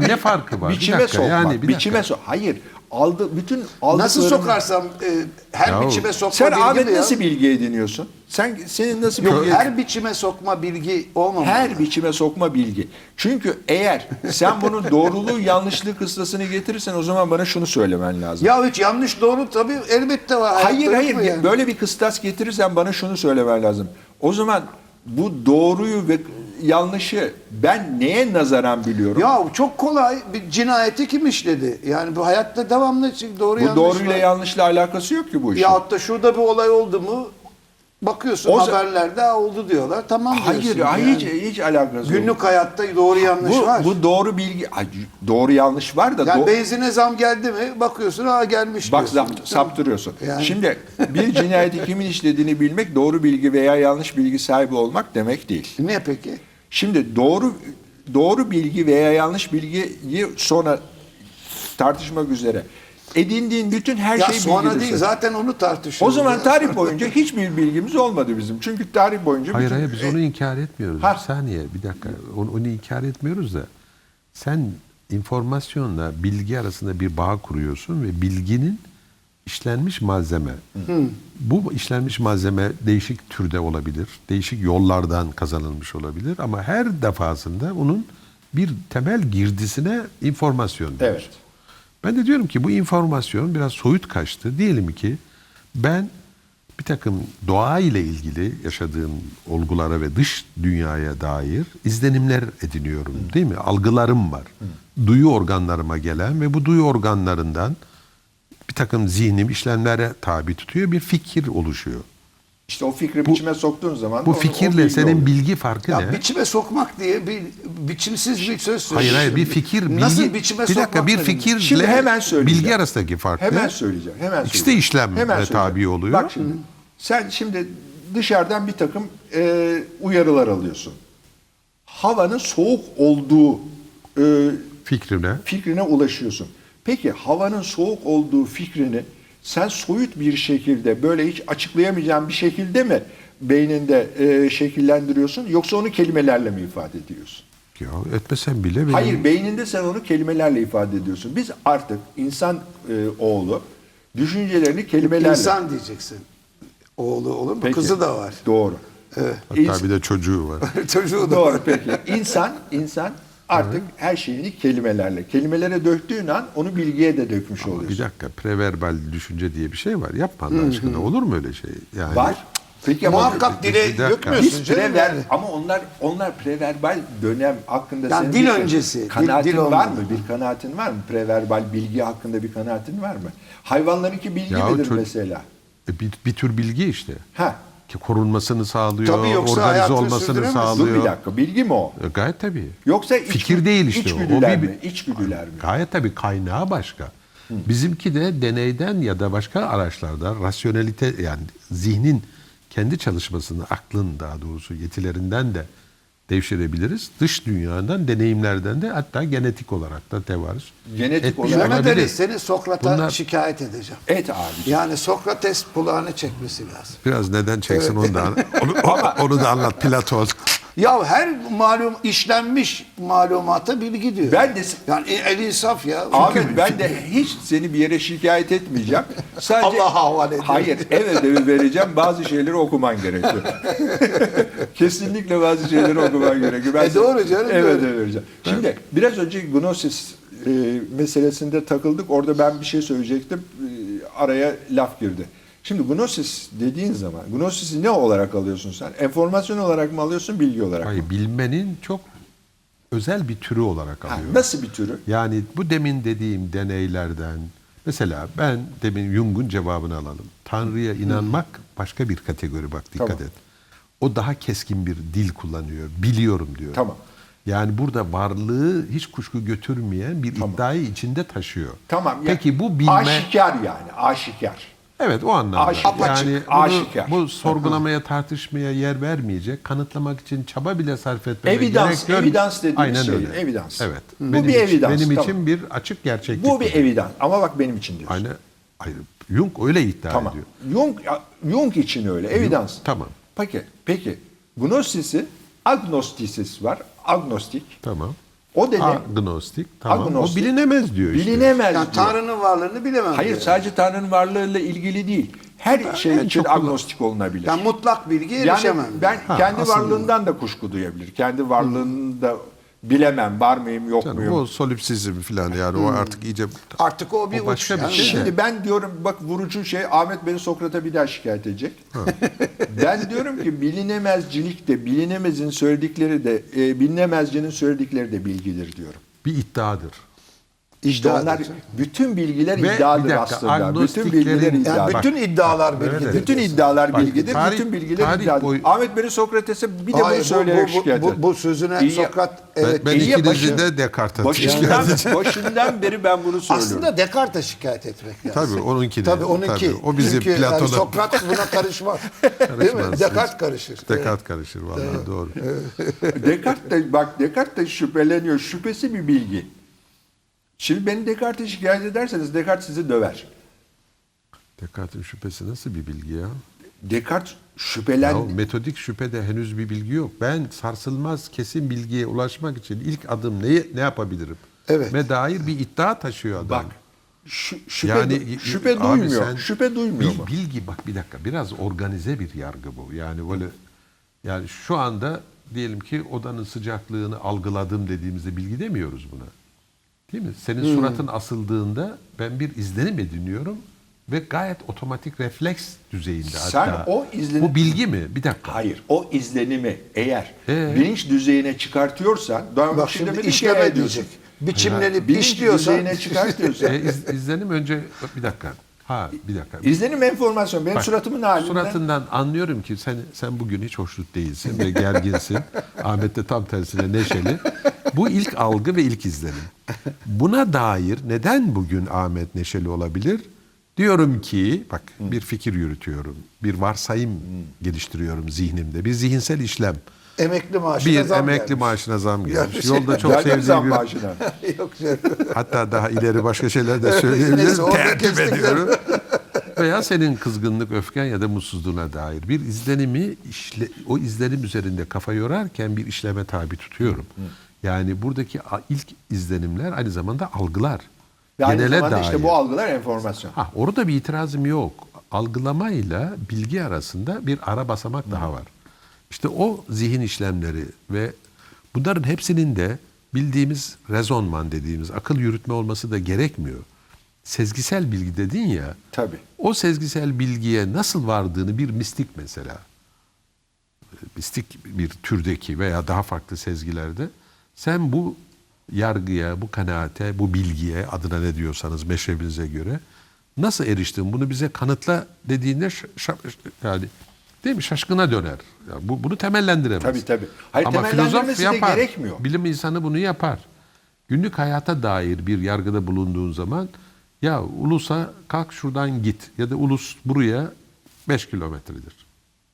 C: ne farkı var? Bir
A: Biçime
C: dakika,
A: sokmak.
C: yani bir
A: biçime
C: dakika.
A: sok. Hayır. Aldı bütün aldıklarını...
B: nasıl sokarsam e, her
C: Yahu,
B: biçime sokma
A: Sen
B: bilgi
A: Ahmet
B: mi ya?
A: nasıl bilgi ediniyorsun? Sen senin nasıl
B: Yok,
A: bilgi
B: her biçime sokma bilgi olmamalı.
A: her biçime sokma bilgi. Çünkü eğer sen bunun doğruluğu yanlışlığı kıstasını getirirsen o zaman bana şunu söylemen lazım.
B: Ya hiç yanlış doğru tabii elbette var. Hayatta
A: Hayır
B: yok
A: hayır
B: mu yani?
A: böyle bir kıstas getirirsen bana şunu söylemen lazım. O zaman bu doğruyu ve yanlışı ben neye nazaran biliyorum?
B: Ya çok kolay bir cinayeti kim işledi? Yani bu hayatta devamlı çünkü doğru
A: bu
B: yanlış
A: doğruyla
B: var.
A: yanlışla alakası yok ki bu işin.
B: Yahut da şurada bir olay oldu mu bakıyorsun
A: O za-
B: haberlerde "Aa, oldu diyorlar. Tamam
A: hayır
B: diyorsun.
A: hayır
B: yani.
A: hiç, hiç alakası yok.
B: Günlük hayatta doğru yanlış
A: Bu,
B: var.
A: bu doğru bilgi Ay, doğru yanlış var da
B: yani
A: do-
B: benzine zam geldi mi bakıyorsun ha gelmiş
A: Bak
B: diyorsun.
A: zapt- saptırıyorsun.
B: Yani-
A: Şimdi bir cinayeti kimin işlediğini bilmek doğru bilgi veya yanlış bilgi sahibi olmak demek değil.
B: Ne peki?
A: Şimdi doğru doğru bilgi veya yanlış bilgiyi sonra tartışmak üzere edindiğin bütün her
B: ya
A: şey
B: sonra
A: bilgidir
B: değil
A: senin.
B: zaten onu
A: O
B: tartışıyoruz.
A: zaman
B: ya.
A: tarih boyunca hiçbir bilgimiz olmadı bizim. Çünkü tarih boyunca
C: Hayır
A: bütün-
C: hayır biz onu inkar etmiyoruz.
A: E, Ha.
C: Bir saniye bir dakika. Onu, onu inkar etmiyoruz da sen informasyonla bilgi arasında bir bağ kuruyorsun ve bilginin işlenmiş malzeme. Bu işlenmiş malzeme değişik türde olabilir. Değişik yollardan kazanılmış olabilir ama her defasında onun bir temel girdisine informasyon denir.
A: Evet.
C: Ben de diyorum ki bu informasyon biraz soyut kaçtı. Diyelim ki ben bir takım doğa ile ilgili yaşadığım olgulara ve dış dünyaya dair izlenimler ediniyorum değil mi? Algılarım var. Duyu organlarıma gelen ve bu duyu organlarından bir takım zihnim işlemlere tabi tutuyor. Bir fikir oluşuyor.
A: işte o fikri
C: Bu-
A: biçime soktuğun zaman da
C: Bu
A: o- o
C: fikirle
A: bilgi
C: senin
A: oluyor.
C: bilgi farkı
B: Ya
C: ne?
B: biçime sokmak diye bir biçimsiz bir söz söylüyorsun.
C: Hayır hayır bir fikir bilgi.
B: Nasıl biçime
C: bir dakika
B: sokmak
C: bir
B: demek?
C: fikirle
A: Şimdi hemen söyleyeceğim.
C: bilgi arasındaki fark ne?
A: Hemen söyleyeceğim. Hemen
C: İkisi de
A: söyleyeceğim.
C: işlem ve
A: söyleyeceğim.
C: tabi oluyor.
A: Bak şimdi. Sen şimdi dışarıdan bir takım e, uyarılar alıyorsun. Havanın soğuk olduğu e,
C: Fikri ne?
A: fikrine ulaşıyorsun. Peki havanın soğuk olduğu fikrini sen soyut bir şekilde böyle hiç açıklayamayacağın bir şekilde mi beyninde e, şekillendiriyorsun yoksa onu kelimelerle mi ifade ediyorsun?
C: Ya etmesen bile benim...
A: Hayır beyninde sen onu kelimelerle ifade ediyorsun. Biz artık insan e, oğlu düşüncelerini kelimelerle.
B: İnsan diyeceksin. Oğlu olur mu?
A: Peki.
B: Kızı da var.
A: Doğru.
C: Hatta bir de çocuğu var.
B: Çocuğu da var.
A: Doğru peki. İnsan, insan artık her şeyini kelimelerle. Kelimelere döktüğün an onu bilgiye de dökmüş
C: bir
A: oluyorsun.
C: dakika preverbal düşünce diye bir şey var. Yapma Allah aşkına olur mu öyle şey? Yani,
A: Var. Peki ama
B: Muhakkak dile
C: Bir dakika.
B: dökmüyorsun
A: biz
B: canım.
A: prever,
B: yani.
A: ama onlar onlar preverbal dönem hakkında
B: Yani
A: senin
B: dil
A: bir
B: öncesi, dil-
A: kanaatin
B: dil
A: var
B: olmadı.
A: mı? Bir kanaatin var mı? Preverbal bilgi hakkında bir kanaatin var mı? Hayvanlarınki bilgi
C: Ya o
A: midir
C: çocuk-
A: mesela?
C: E, bir, bir tür bilgi işte.
A: Ha.
C: Ki korunmasını sağlıyor,
B: Tabii yoksa
C: organize
B: hayatını
C: olmasını
B: sürdüremezsin.
A: Dur bir
C: sağlıyor.
A: dakika. Bilgi mi o?
C: E, gayet tabii.
A: Yoksa iç-
C: fikir değil işte o. o.
A: içgüdüler
C: bir-
A: mi? İçgüdüler mi?
C: Gayet tabii kaynağı başka. Bizimki de deneyden ya da başka araçlarda rasyonelite yani zihnin kendi çalışmasını, aklın daha doğrusu yetilerinden de devşirebiliriz. Dış dünyadan, deneyimlerden de hatta genetik olarak da tevarüz.
A: Genetik
C: etmiş
A: olarak-
B: Mehmet
C: olabilir.
B: Ali seni Sokrat'a
C: Bunlar-
B: şikayet edeceğim.
A: Evet abi.
B: Yani Sokrates kulağını çekmesi lazım.
C: Biraz neden çeksin onu da onu, onu- onu da anlat Platon.
B: Ya her malum işlenmiş malumata bilgi diyor.
A: Ben de-
B: yani el insaf ya.
A: Ahmet ben de hiç seni bir yere şikayet etmeyeceğim. Sadece
B: Allah'a havale ediyorum.
A: Hayır, ev ödevi vereceğim. Bazı şeyleri okuman gerekiyor. Kesinlikle bazı şeyleri okuman gerekiyor.
B: E doğru canım,
A: Ev
B: doğru.
A: ödevi vereceğim. Şimdi biraz önce Gnosis e, meselesinde takıldık. Orada ben bir şey söyleyecektim. E, araya laf girdi. Şimdi Gnosis dediğin zaman Gnosis'i ne olarak alıyorsun sen? Enformasyon olarak mı alıyorsun, bilgi olarak mı?
C: Hayır, bilmenin çok özel bir türü olarak
A: Ha,
C: alıyor.
A: nasıl bir türü?
C: Yani bu demin dediğim deneylerden mesela ben demin Jung'un cevabını alalım. Tanrı'ya inanmak başka bir kategori bak dikkat
A: Tamam.
C: et. O daha keskin bir dil kullanıyor. Biliyorum diyor.
A: Tamam.
C: Yani burada varlığı hiç kuşku götürmeyen bir iddiayı içinde taşıyor.
A: Tamam. ya-
C: Peki bu bilme
A: Aşikar yani, aşikar.
C: Evet o anlamda.
A: Aşikar.
B: Apaçık,
C: Yani
A: aşikar.
C: bunu, bu sorgulamaya, tartışmaya yer vermeyecek, kanıtlamak için çaba bile sarf etmeye
A: Evidans,
C: gerek yok.
A: evidans dediğimiz
C: Aynen
A: şey,
C: öyle.
A: evidans.
C: Evet.
A: Hı. Bu
C: Benim
A: bir
C: için-
A: evidans,
C: Benim
A: tamam.
C: için bir açık gerçeklik.
A: Bu bir evidans. Ama bak benim için diyorsun.
C: Aynen. Hayır. Jung öyle iddia
A: Tamam.
C: ediyor.
A: Jung, Jung için öyle. Evidans.
C: tamam.
A: Peki. Peki. Gnosisi, agnostisis var. Agnostik.
C: Tamam.
A: O demek
C: Agnostik. Tamam.
A: Agnostik.
C: O bilinemez diyor işte.
A: bilinemez
B: Yani
A: diyor.
B: Tanrı'nın varlığını bilemem.
A: Hayır
B: diyor.
A: sadece Tanrı'nın varlığıyla ilgili değil. Her şey için
C: çok kullan-
A: agnostik olunabilir.
B: Yani mutlak bilgi
A: Yani
B: erişemem.
A: ben
C: Ha,
A: kendi
C: aslında.
A: varlığından da kuşku duyabilir. Kendi varlığını da bilemem. Var mıyım yok
C: Canım,
A: muyum.
C: o solipsizm falan yani
A: Hmm.
C: o artık iyice
B: Artık o bir
C: O başka
B: uç.
C: bir
B: yani.
C: şey.
A: Şimdi ben diyorum bak vurucu şey Ahmet beni Sokrat'a bir daha şikayet edecek. ben diyorum ki bilinemezcilik de bilinemezin söyledikleri de e, bilinemezcinin söyledikleri de bilgidir diyorum.
C: bir iddiadır.
A: İşte
B: İddiadır
A: onlar
B: canım.
A: bütün bilgiler
C: Ve bir
A: iddiadır
C: dakika,
A: aslında. Bütün
C: agnostiklerin-
A: bilgiler
C: Yani
A: iddiadır.
B: Yani
C: Bak,
B: bütün iddialar
C: evet,
B: bilgidir.
C: evet.
A: bütün
B: diyorsun.
A: iddialar
C: Bak,
A: bilgidir.
C: tarih-
A: bütün bilgiler
C: tarih
A: iddiadır.
C: boyu-
A: Ahmet beni Sokrates'e bir de
B: Hayır,
A: bunu söyleyerek
B: bu, bu,
A: şikayet
B: bu,
A: eder.
B: bu sözüne
A: İyi-
B: Sokrat
C: Ben,
B: evet,
C: ben
A: iyi ya,
C: ikinizi
A: başı-
C: de Descartes'e
A: Başından, başından beri ben bunu söylüyorum.
B: aslında Descartes'e şikayet etmek lazım.
C: Tabii onunki de.
B: Tabii onunki.
C: Tabii, o bizim
B: Çünkü yani
C: Platon'a-
B: Sokrat buna karışmaz. Değil mi?
C: Karışmaz.
B: Descartes karışır.
C: Descartes karışır vallahi doğru.
A: Descartes de, bak Descartes de şüpheleniyor. Şüphesi bir bilgi. Şimdi beni Descartes'e şikayet ederseniz Descartes sizi döver.
C: Descartes'in şüphesi nasıl bir bilgi ya?
A: Descartes
C: Ya
A: şüphelendi.
C: metodik şüphede henüz bir bilgi yok. Ben sarsılmaz kesin bilgiye ulaşmak için ilk adım neyi ne yapabilirim?
B: Evet.
C: Ve dair bir iddia taşıyor adam.
A: bak şü- şüphe,
C: yani
A: şüphe
C: abi
A: duymuyor.
C: sen-
A: şüphe duymuyor
C: bil-
A: mu?
C: Bilgi bak bir dakika biraz organize bir yargı bu. Yani böyle yani şu anda diyelim ki odanın sıcaklığını algıladım dediğimizde bilgi demiyoruz buna. Değil mi? Senin
A: Hmm.
C: suratın asıldığında ben bir izlenim ediniyorum ve gayet otomatik refleks düzeyinde
A: Sen
C: hatta.
A: o izlenim-
C: Bu bilgi mi? Bir dakika.
A: Hayır. O izlenimi eğer
C: Ee?
A: bilinç düzeyine çıkartıyorsan daha
B: Bak
A: önce
B: şimdi
A: demedim ki
B: işleme
A: eğer
B: diyecek.
A: diyorsun.
B: Biçimlenip
A: E, Bilinç
B: işliyorsan
A: düzeyine çıkartıyorsan.
C: E, iz- izlenim önce bir dakika. Ha bir dakika.
A: izlenim enformasyon. Benim
C: Bak,
A: suratımın halinden.
C: Suratından anlıyorum ki sen sen bugün hiç hoşnut değilsin ve gerginsin. Ahmet de tam tersine neşeli. Bu ilk algı ve ilk izlenim. Buna dair neden bugün Ahmet neşeli olabilir? Diyorum ki bak bir fikir yürütüyorum. Bir varsayım geliştiriyorum zihnimde. Bir zihinsel işlem.
B: emekli maaşına
C: Bir
B: zam
C: emekli
B: gelmiş. şey,
C: maaşına zam gelmiş.
B: Gelmiş.
C: Yolda çok
A: Verdim
C: sevdiği
A: zam
C: bir
A: maaşına.
B: Yok canım.
C: Hatta daha ileri başka şeyler de söyleyebilirim.
B: Neyse, orada
C: Tertip
B: kestik.
C: ediyorum. Veya senin kızgınlık, öfken ya da mutsuzluğuna dair bir izlenimi işle, o izlenim üzerinde kafa yorarken bir işleme tabi tutuyorum. Yani buradaki a- ilk izlenimler aynı zamanda algılar.
A: Ve aynı
C: Genele
A: zamanda işte
C: dair.
A: bu algılar enformasyon.
C: Ha, orada bir itirazım yok. Algılamayla bilgi arasında bir ara basamak daha var. İşte o zihin işlemleri ve bunların hepsinin de bildiğimiz rezonman dediğimiz akıl yürütme olması da gerekmiyor. Sezgisel bilgi dedin ya.
A: Tabii.
C: O sezgisel bilgiye nasıl vardığını bir mistik mesela mistik bir türdeki veya daha farklı sezgilerde sen bu yargıya, bu kanaate, bu bilgiye adına ne diyorsanız meşrebinize göre nasıl eriştin? Bunu bize kanıtla dediğinde ş- ş- yani değil mi şaşkına döner. Ya bu, bunu temellendiremez.
A: Tabii, tabii. Hayır, temellendirmesi de gerekmiyor.
C: Bilim insanı bunu yapar. Günlük hayata dair bir yargıda bulunduğun zaman ya ulusa kalk şuradan git ya da ulus buraya 5 kilometredir.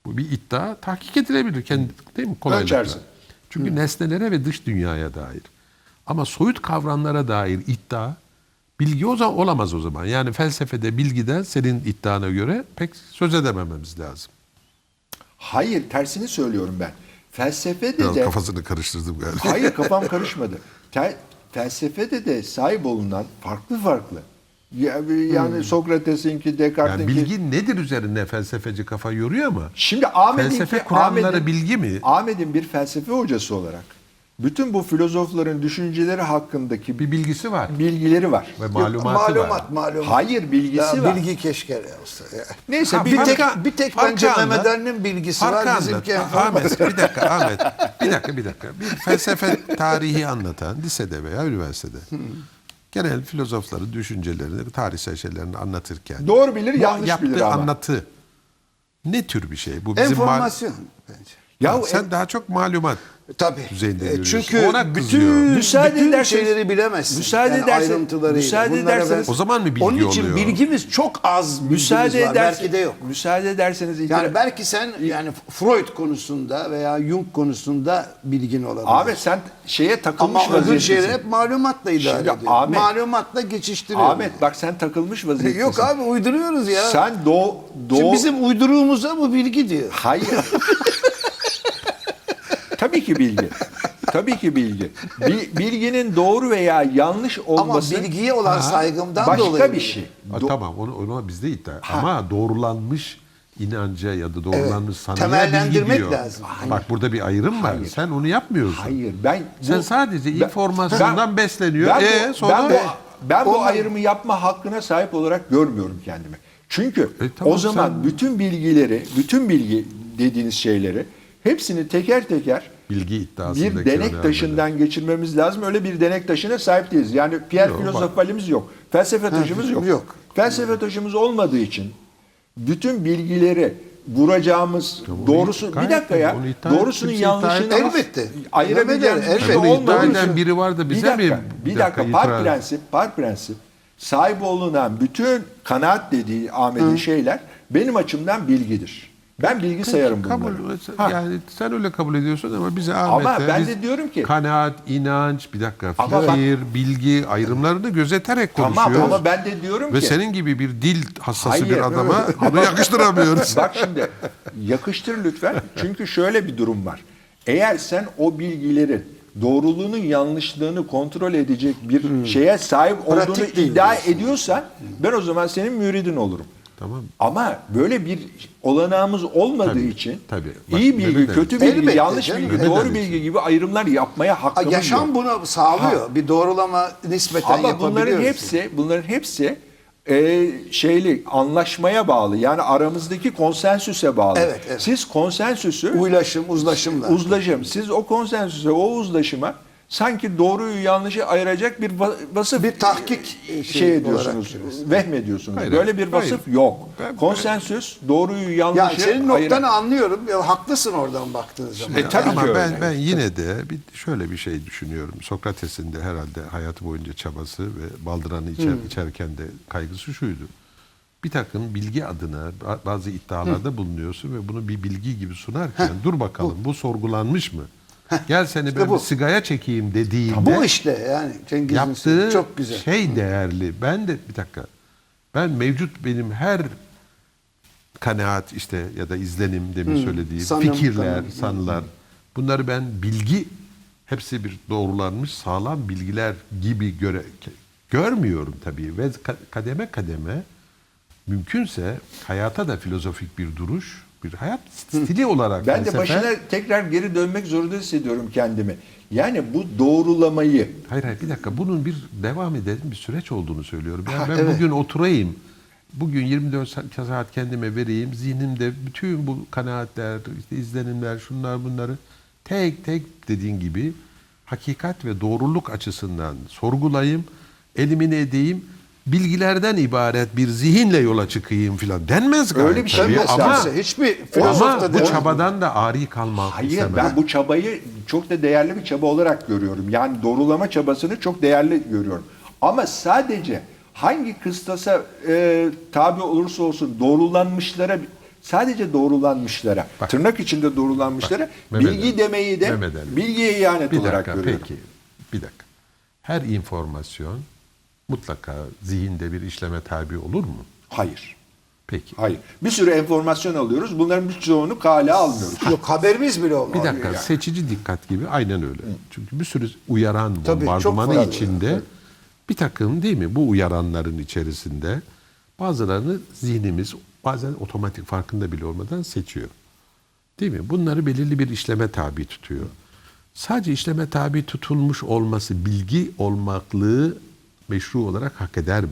C: Bu bir iddia tahkik edilebilir kendi değil mi kolaylıkla.
A: Ölçersin.
C: Çünkü nesnelere ve dış dünyaya dair. Ama soyut kavramlara dair iddia bilgi o zaman olamaz o zaman. Yani felsefede bilgiden senin iddiana göre pek söz edemememiz lazım.
A: Hayır tersini söylüyorum ben. Felsefede
C: Biraz
A: de...
C: kafasını karıştırdım galiba.
A: Hayır kafam karışmadı. Te- felsefede de sahip olunan farklı farklı. Ya- Yani Sokrates'inki,
C: Hmm. Yani
A: Descartes'inki...
C: bilgi nedir üzerine felsefeci kafa yoruyor ama
A: Şimdi Ahmet'in
C: Felsefe kuramları bilgi mi?
A: Ahmet'in bir felsefe hocası olarak bütün bu filozofların düşünceleri hakkındaki
C: bir bilgisi var.
A: bilgileri var.
C: Ve malumatı var.
B: malumat, malumat.
A: Hayır bilgisi
B: Ya
A: var.
B: Bilgi keşke olsa. ya.
A: Neyse
C: Ha,
A: bir
B: bir
C: farkı-
B: tek bir tek
C: farkı
B: bence
C: anlat.
B: Mehmet Ali'nin bilgisi var
C: Farkı
B: bizimki
C: anlat. Ah,
B: enformasyon.
C: Ahmet bir dakika Ahmet. Bir dakika bir dakika. Bir felsefe tarihi anlatan lisede veya üniversitede genel filozofların düşüncelerini, tarihsel şeylerini anlatırken
A: Doğru bilir,
C: bu
A: yanlış
C: yaptığı
A: bilir ama.
C: anlatı ne tür bir şey? Bu bizim mal-
B: Enformasyon bence.
A: Yahu
C: sen daha çok malumat
B: Tabii.
C: düzeyinde
B: E,
C: görüyorsun.
B: Çünkü
C: Ona
B: bütün,
C: kızıyor.
A: Müsaade
B: bütün
A: ederseniz-
B: şeyleri bilemezsin.
A: Müsaade ederseniz-
B: ayrıntılarıyla.
A: müsaade
B: Bunlara ben-
A: ederseniz-
C: O zaman mı bilgi
B: Onun için
C: oluyor?
B: bilgimiz çok az bilgimiz
A: müsaade
B: var.
A: ederseniz
B: Belki de yok.
A: Müsaade ederseniz itiraz-
B: Yani belki sen yani Freud konusunda veya Jung konusunda bilgin olabilir.
A: Ahmet sen şeye
B: Ama
A: takılmış
B: öbür
A: vaziyettesin.
B: şeyler hep malumatla idare
A: Şimdi
B: ediyor.
A: Ahmet-
B: Malumatla geçiştiriyor.
A: Ahmet bak sen takılmış vaziyettesin.
B: Yok abi uyduruyoruz ya.
A: Sen doğu
B: Şimdi
A: doğu
B: bizim uyduruğumuza bu bilgi diyor.
A: hayır. Tabii ki bilgi. Tabii ki bilgi. Bi- bilginin doğru veya yanlış
B: Ama
A: olması
B: bilgiye olan saygımdan
A: başka
B: dolayı.
A: bir şey.
C: Ha,
A: Do-
C: tamam onu, ona bizde iddia. Ama doğrulanmış inanca ya da doğrulanmış sanıya
B: Temellendirmek
C: bilgi diyor.
B: lazım.
C: Bak burada bir ayrım var. Sen onu yapmıyorsun.
A: Hayır ben
C: Sen sadece informasyondan besleniyor.
A: Ben,
C: E,
A: bu,
C: sonra-
A: ben, bu, ben bu
B: Ondan-
A: ayrımı yapma hakkına sahip olarak görmüyorum kendimi. Çünkü
C: E, tamam,
A: o zaman
C: sen-
A: bütün bilgileri, bütün bilgi dediğiniz şeyleri hepsini teker teker
C: Bilgi iddiasındaki
A: bir denek
C: önemli.
A: taşından geçirmemiz lazım. Öyle bir denek taşına sahip değiliz. Yani Pierre
C: Yok,
A: filozof
C: bak.
A: valimiz yok. Felsefe taşımız yok.
B: yok.
A: Felsefe taşımız olmadığı için bütün bilgileri vuracağımız
C: onu-
A: doğrusu bir
C: gayet
A: dakika ya
C: onu iddia-
A: doğrusunun
C: kimse iddia
A: yanlışını
B: etmez. Elbette.
A: ayırabileceğimiz
B: Elbette,
A: bir şey
B: elbette.
C: Bunu iddia
A: olmadığı
C: eden
A: için-
C: biri var da bize
A: bir dakika,
C: mi
A: bir
C: bir dakika
A: dakika, par
C: itiraz-
A: prensip par prensip sahip olunan bütün kanaat dediği Ahmet'in şeyler benim açımdan bilgidir. Ben bilgi sayarım bunları.
C: kabul,
A: Ha.
C: yani sen öyle kabul ediyorsun ama bize
A: Ama
C: Ahmet'e
A: ben
C: biz
A: de diyorum ki-
C: kanaat, inanç, bir dakika
A: Ama bak-
C: fikir, bilgi ayrımlarını gözeterek
A: Tamam,
C: konuşuyoruz.
A: ama ben de diyorum
C: Ve
A: ki-
C: senin gibi bir dil hassası
A: Hayır,
C: bir adama bunu yakıştıramıyoruz.
A: Bak şimdi yakıştır lütfen. Çünkü şöyle bir durum var. Eğer sen o bilgilerin doğruluğunun yanlışlığını kontrol edecek bir şeye sahip
B: Hmm. Pratik
A: olduğunu
B: değil
A: iddia
B: diyorsun.
A: ediyorsan ben o zaman senin müridin olurum.
C: Tamam.
A: Ama böyle bir olanağımız olmadığı
C: Tabii,
A: için
C: tabii. Bak,
A: iyi bilgi,
C: Mehmet Ali-
A: kötü bilgi,
B: Elbette
A: yanlış
B: canım,
A: bilgi,
C: Mehmet
A: doğru
C: Ali-
A: bilgi gibi ayrımlar yapmaya
B: Ha,
A: hakkımız yok.
B: yaşam bunu sağlıyor. Bir doğrulama nispeten
A: Ama
B: yapabiliyoruz.
A: bunların hepsi, bunların hepsi e, şeyli anlaşmaya bağlı. Yani aramızdaki konsensüse bağlı.
B: Evet, evet.
A: Siz konsensüsü
B: Uylaşım, uzlaşımla.
A: uzlaşım. Siz o konsensüse, o uzlaşıma sanki doğruyu yanlışı ayıracak bir va- vasıf
B: Bir tahkik,
A: şey,
B: e, şey
A: ediyorsunuz.
B: olarak
A: Vehmediyorsunuz.
C: Hayır,
A: Böyle bir
C: hayır.
A: vasıf yok.
C: Ben-
A: Konsensüs doğruyu yanlışı
B: ya senin
A: ayıran-
B: noktanı anlıyorum. Ya, haklısın oradan baktığın zaman.
A: E, tabii
C: ama
A: ki
C: ben
A: öyle.
C: ben yine de bir şöyle bir şey düşünüyorum. Sokrates'in de herhalde hayatı boyunca çabası ve baldıranı içer, içerken de kaygısı şuydu. Bir takım bilgi adına ba- bazı iddialarda bulunuyorsun ve bunu bir bilgi gibi sunarken dur bakalım bu, sorgulanmış mı? Gel seni ben
B: bu.
C: bir sigaya çekeyim dediğinde
B: Bu işte yani Cengiz'in
C: yaptığı
B: söylediği çok güzel.
C: şey değerli. Ben de bir dakika. Ben mevcut benim her kanaat işte ya da izlenim demin
A: Hmm.
C: söylediği
B: sanım,
C: fikirler,
B: kanım.
C: sanılar. Bunları ben bilgi hepsi bir doğrulanmış sağlam bilgiler gibi göre görmüyorum tabii ve ka- kademe kademe mümkünse hayata da filozofik bir duruş, bir hayat stili olarak
A: Ben de
C: felsefe-
A: başına tekrar geri dönmek zorunda hissediyorum kendimi. Yani bu doğrulamayı
C: Hayır hayır bir dakika bunun bir devam edelim bir süreç olduğunu söylüyorum. Yani
B: Ha,
C: ben
B: evet.
C: bugün oturayım. Bugün 24 sa- saat kendime vereyim. Zihnimde bütün bu kanaatler, işte izlenimler, şunlar bunları tek tek dediğin gibi hakikat ve doğruluk açısından sorgulayayım, elimine edeyim. Bilgilerden ibaret bir zihinle yola çıkayım filan denmez gayet
A: Öyle bir şey
C: tabii
A: denmez
C: ama,
A: kimse.
B: hiçbir filozof da
C: ama bu
B: demez.
C: çabadan da ari kalmak
A: Hayır
C: istemem.
A: ben bu çabayı çok da değerli bir çaba olarak görüyorum. Yani doğrulama çabasını çok değerli görüyorum. Ama sadece hangi kıstasa e, tabi olursa olsun doğrulanmışlara sadece doğrulanmışlara
C: Bak.
A: tırnak içinde doğrulanmışlara
C: Mehmet
A: bilgi
C: Ali,
A: demeyi de
C: Mehmet Ali.
A: bilgiye ihanet
C: Bir
A: olarak
C: dakika
A: görüyorum.
C: peki. Bir dakika. Her informasyon mutlaka zihinde bir işleme tabi olur mu?
A: Hayır.
C: Peki.
A: Hayır. Bir sürü enformasyon alıyoruz. Bunların birçoğunu kale almıyoruz.
B: Yok haberimiz bile olmuyor.
C: Bir dakika seçici dikkat gibi aynen öyle. Çünkü bir sürü uyaran
B: Tabii, çok
C: bombardımanı
B: fazla.
C: içinde bir takım değil mi bu uyaranların içerisinde bazılarını zihnimiz bazen otomatik farkında bile olmadan seçiyor. Değil mi? Bunları belirli bir işleme tabi tutuyor. Sadece işleme tabi tutulmuş olması bilgi olmaklığı meşru olarak hak eder mi?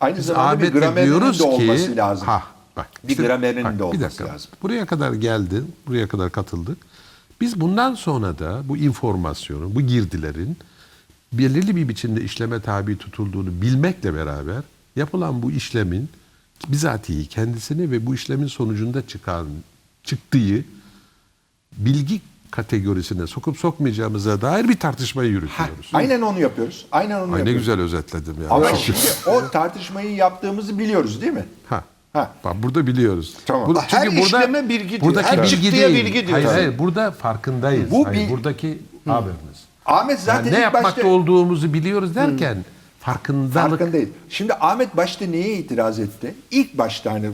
A: Aynı zamanda bir
C: Ahmet'le
A: gramerinin
C: diyoruz
A: de olması lazım.
C: Ha, bak.
A: Bir gramerinin de
C: bir
A: olması
C: dakika.
A: lazım.
C: Buraya kadar geldin, buraya kadar katıldık. Biz bundan sonra da bu informasyonun, bu girdilerin belirli bir biçimde işleme tabi tutulduğunu bilmekle beraber yapılan bu işlemin bizatihi kendisini ve bu işlemin sonucunda çıkan çıktığı bilgi kategorisine sokup sokmayacağımıza dair bir tartışmayı yürütüyoruz.
A: Aynen onu yapıyoruz. Aynen onu
C: Ay ne
A: yapıyoruz.
C: güzel özetledim ya.
A: Ama
C: Çok-
A: şimdi o tartışmayı yaptığımızı biliyoruz değil mi?
C: Ha.
A: Ha.
C: Bak burada biliyoruz.
A: Tamam.
C: Bu-
B: Her işleme bilgi diyor. Her çıktıya bilgi diyor.
C: Hayır,
B: Tabii.
C: hayır burada farkındayız.
A: Bu
C: hayır,
A: bil-
C: buradaki haberimiz.
A: Ahmet zaten
C: Yani ne
A: ilk
C: yapmakta
A: başta... Hmm.
C: olduğumuzu biliyoruz derken farkındalık
A: Farkındayız. Şimdi Ahmet başta neye itiraz etti? İlk başta hani e,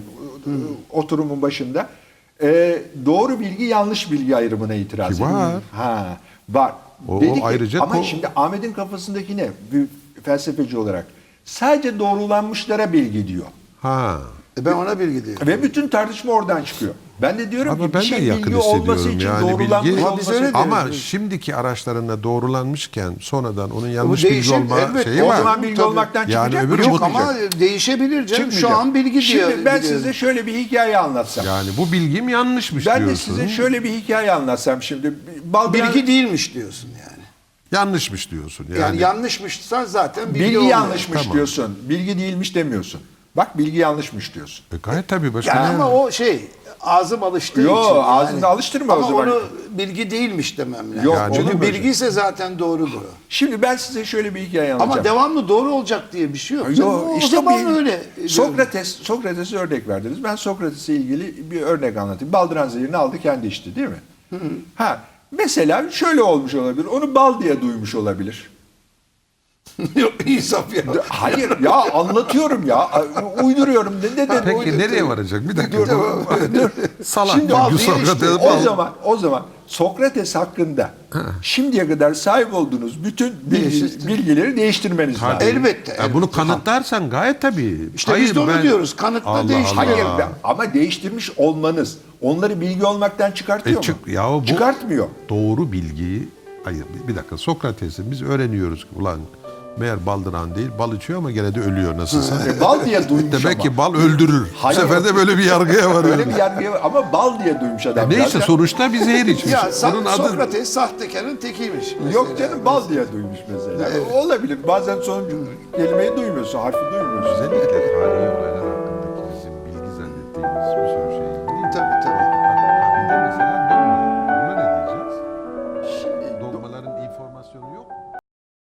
A: oturumun başında e, doğru bilgi yanlış bilgi ayrımına itiraz
C: Ki
A: etti.
C: var.
A: Ha, var.
C: O-
A: Dedi
C: o
A: ki,
C: ayrıca
A: ama
C: ko-
A: şimdi Ahmet'in kafasındaki ne? Bir felsefeci olarak sadece doğrulanmışlara bilgi diyor.
C: ha.
B: E Ben ona bilgi diyorum.
A: Ve bütün tartışma oradan çıkıyor. Ben de diyorum
C: Ama
A: ki
C: ben
A: bir şey
C: de yakın
A: bilgi olması
C: hissediyorum
A: için
C: yani
A: doğrulanmış
C: bilgi.
B: Ama biz
A: olması
B: öyle diyoruz.
C: Ama şimdiki araçlarında doğrulanmışken sonradan onun yanlış
B: Bu
C: bilgi
B: değişir,
C: olma
B: elbet.
C: şeyi
A: o
C: var.
A: zaman bilgi
B: Tabii.
A: olmaktan
C: Yani
A: çıkacak mı?
C: öbürü
A: Yok
C: çıkmayacak.
A: ama
B: Ama değişebilir canım. Şu an bilgi diyor.
A: Şimdi ben
B: biliyorum.
A: size şöyle bir hikaye anlatsam.
C: Yani bu bilgim yanlışmış
A: Ben de
C: diyorsun.
A: size şöyle bir hikaye anlatsam şimdi. Bal
B: bilgi değilmiş diyorsun yani.
C: Yanlışmış diyorsun. Yani,
B: Yani, yanlışmışsan zaten bilgi,
A: bilgi
B: olmuyor.
A: yanlışmış
C: Tamam.
A: diyorsun. Bilgi değilmiş demiyorsun. Bak bilgi yanlışmış diyorsun.
C: E gayet tabii başka
B: Yani
C: ne-
B: ama o şey ağzım alıştığı
A: Yo,
B: için.
A: ağzını alıştırma o
B: ama
A: zaman.
B: onu bilgi değilmiş demem
A: Yok,
B: lazım. Yok,
A: olur
B: Çünkü
A: mu öyle?
B: bilgi ise zaten doğrudur. o.
A: Şimdi ben size şöyle bir hikaye
B: Ama
A: anlatacağım.
B: devamlı doğru olacak diye bir şey yok.
A: Yo,
B: o
A: işte
B: zaman
A: bir-
B: öyle. e,
A: Sokrates, Sokrates'e örnek verdiniz. Ben Sokrates'e ilgili bir örnek anlatayım. Baldıran zehirini aldı kendi içti değil mi? Ha, mesela şöyle olmuş olabilir. Onu bal diye duymuş olabilir.
B: yok insaf ya.
A: Hayır ya anlatıyorum ya. Uyduruyorum. Ne, ne, ne,
C: Peki nereye varacak? Bir dakika. Salak.
A: Şimdi
C: bir
A: al
C: gün
A: değil
C: sonra
A: işte.
C: da-
A: o zaman o zaman Sokrates hakkında şimdiye kadar sahip olduğunuz bütün bilgi-
B: Değiştir.
A: bilgileri değiştirmeniz
C: Tabii.
A: lazım.
B: Elbette,
C: Ya
B: elbette.
C: bunu kanıtlarsan gayet tabii.
B: İşte biz de onu diyoruz, kanıtla değiştir.
A: Hayır
B: Aa.
A: be- ama değiştirmiş olmanız onları bilgi olmaktan çıkartıyor
C: E çık,
A: mu?
C: yahu bu-
A: Çıkartmıyor.
C: Doğru bilgiyi... Hayır bir dakika Sokrates'i biz öğreniyoruz ki ulan meğer baldıran değil bal içiyor ama gene de ölüyor nasılsa.
A: E, bal diye duymuş
C: Demek
A: ama.
C: ki bal öldürür.
A: Hayır.
C: Bu sefer de böyle bir yargıya
A: Öyle
C: varıyoruz.
A: bir yargıya var ama bal diye duymuş adam.
C: Neyse
A: zaten.
C: sonuçta bir zehir içmiş.
B: Ya sa-
C: Bunun adı
B: Sokrates sahtekarın tekiymiş.
A: Yok canım bal diye duymuş mesela. Olabilir. Bazen son kelimeyi duymuyorsun, harfi duymuyorsun.
C: özellikle tarihi olaylar hakkındaki bizim bilgi zannettiğimiz bir sürü şey değil.
B: Tabii tabii.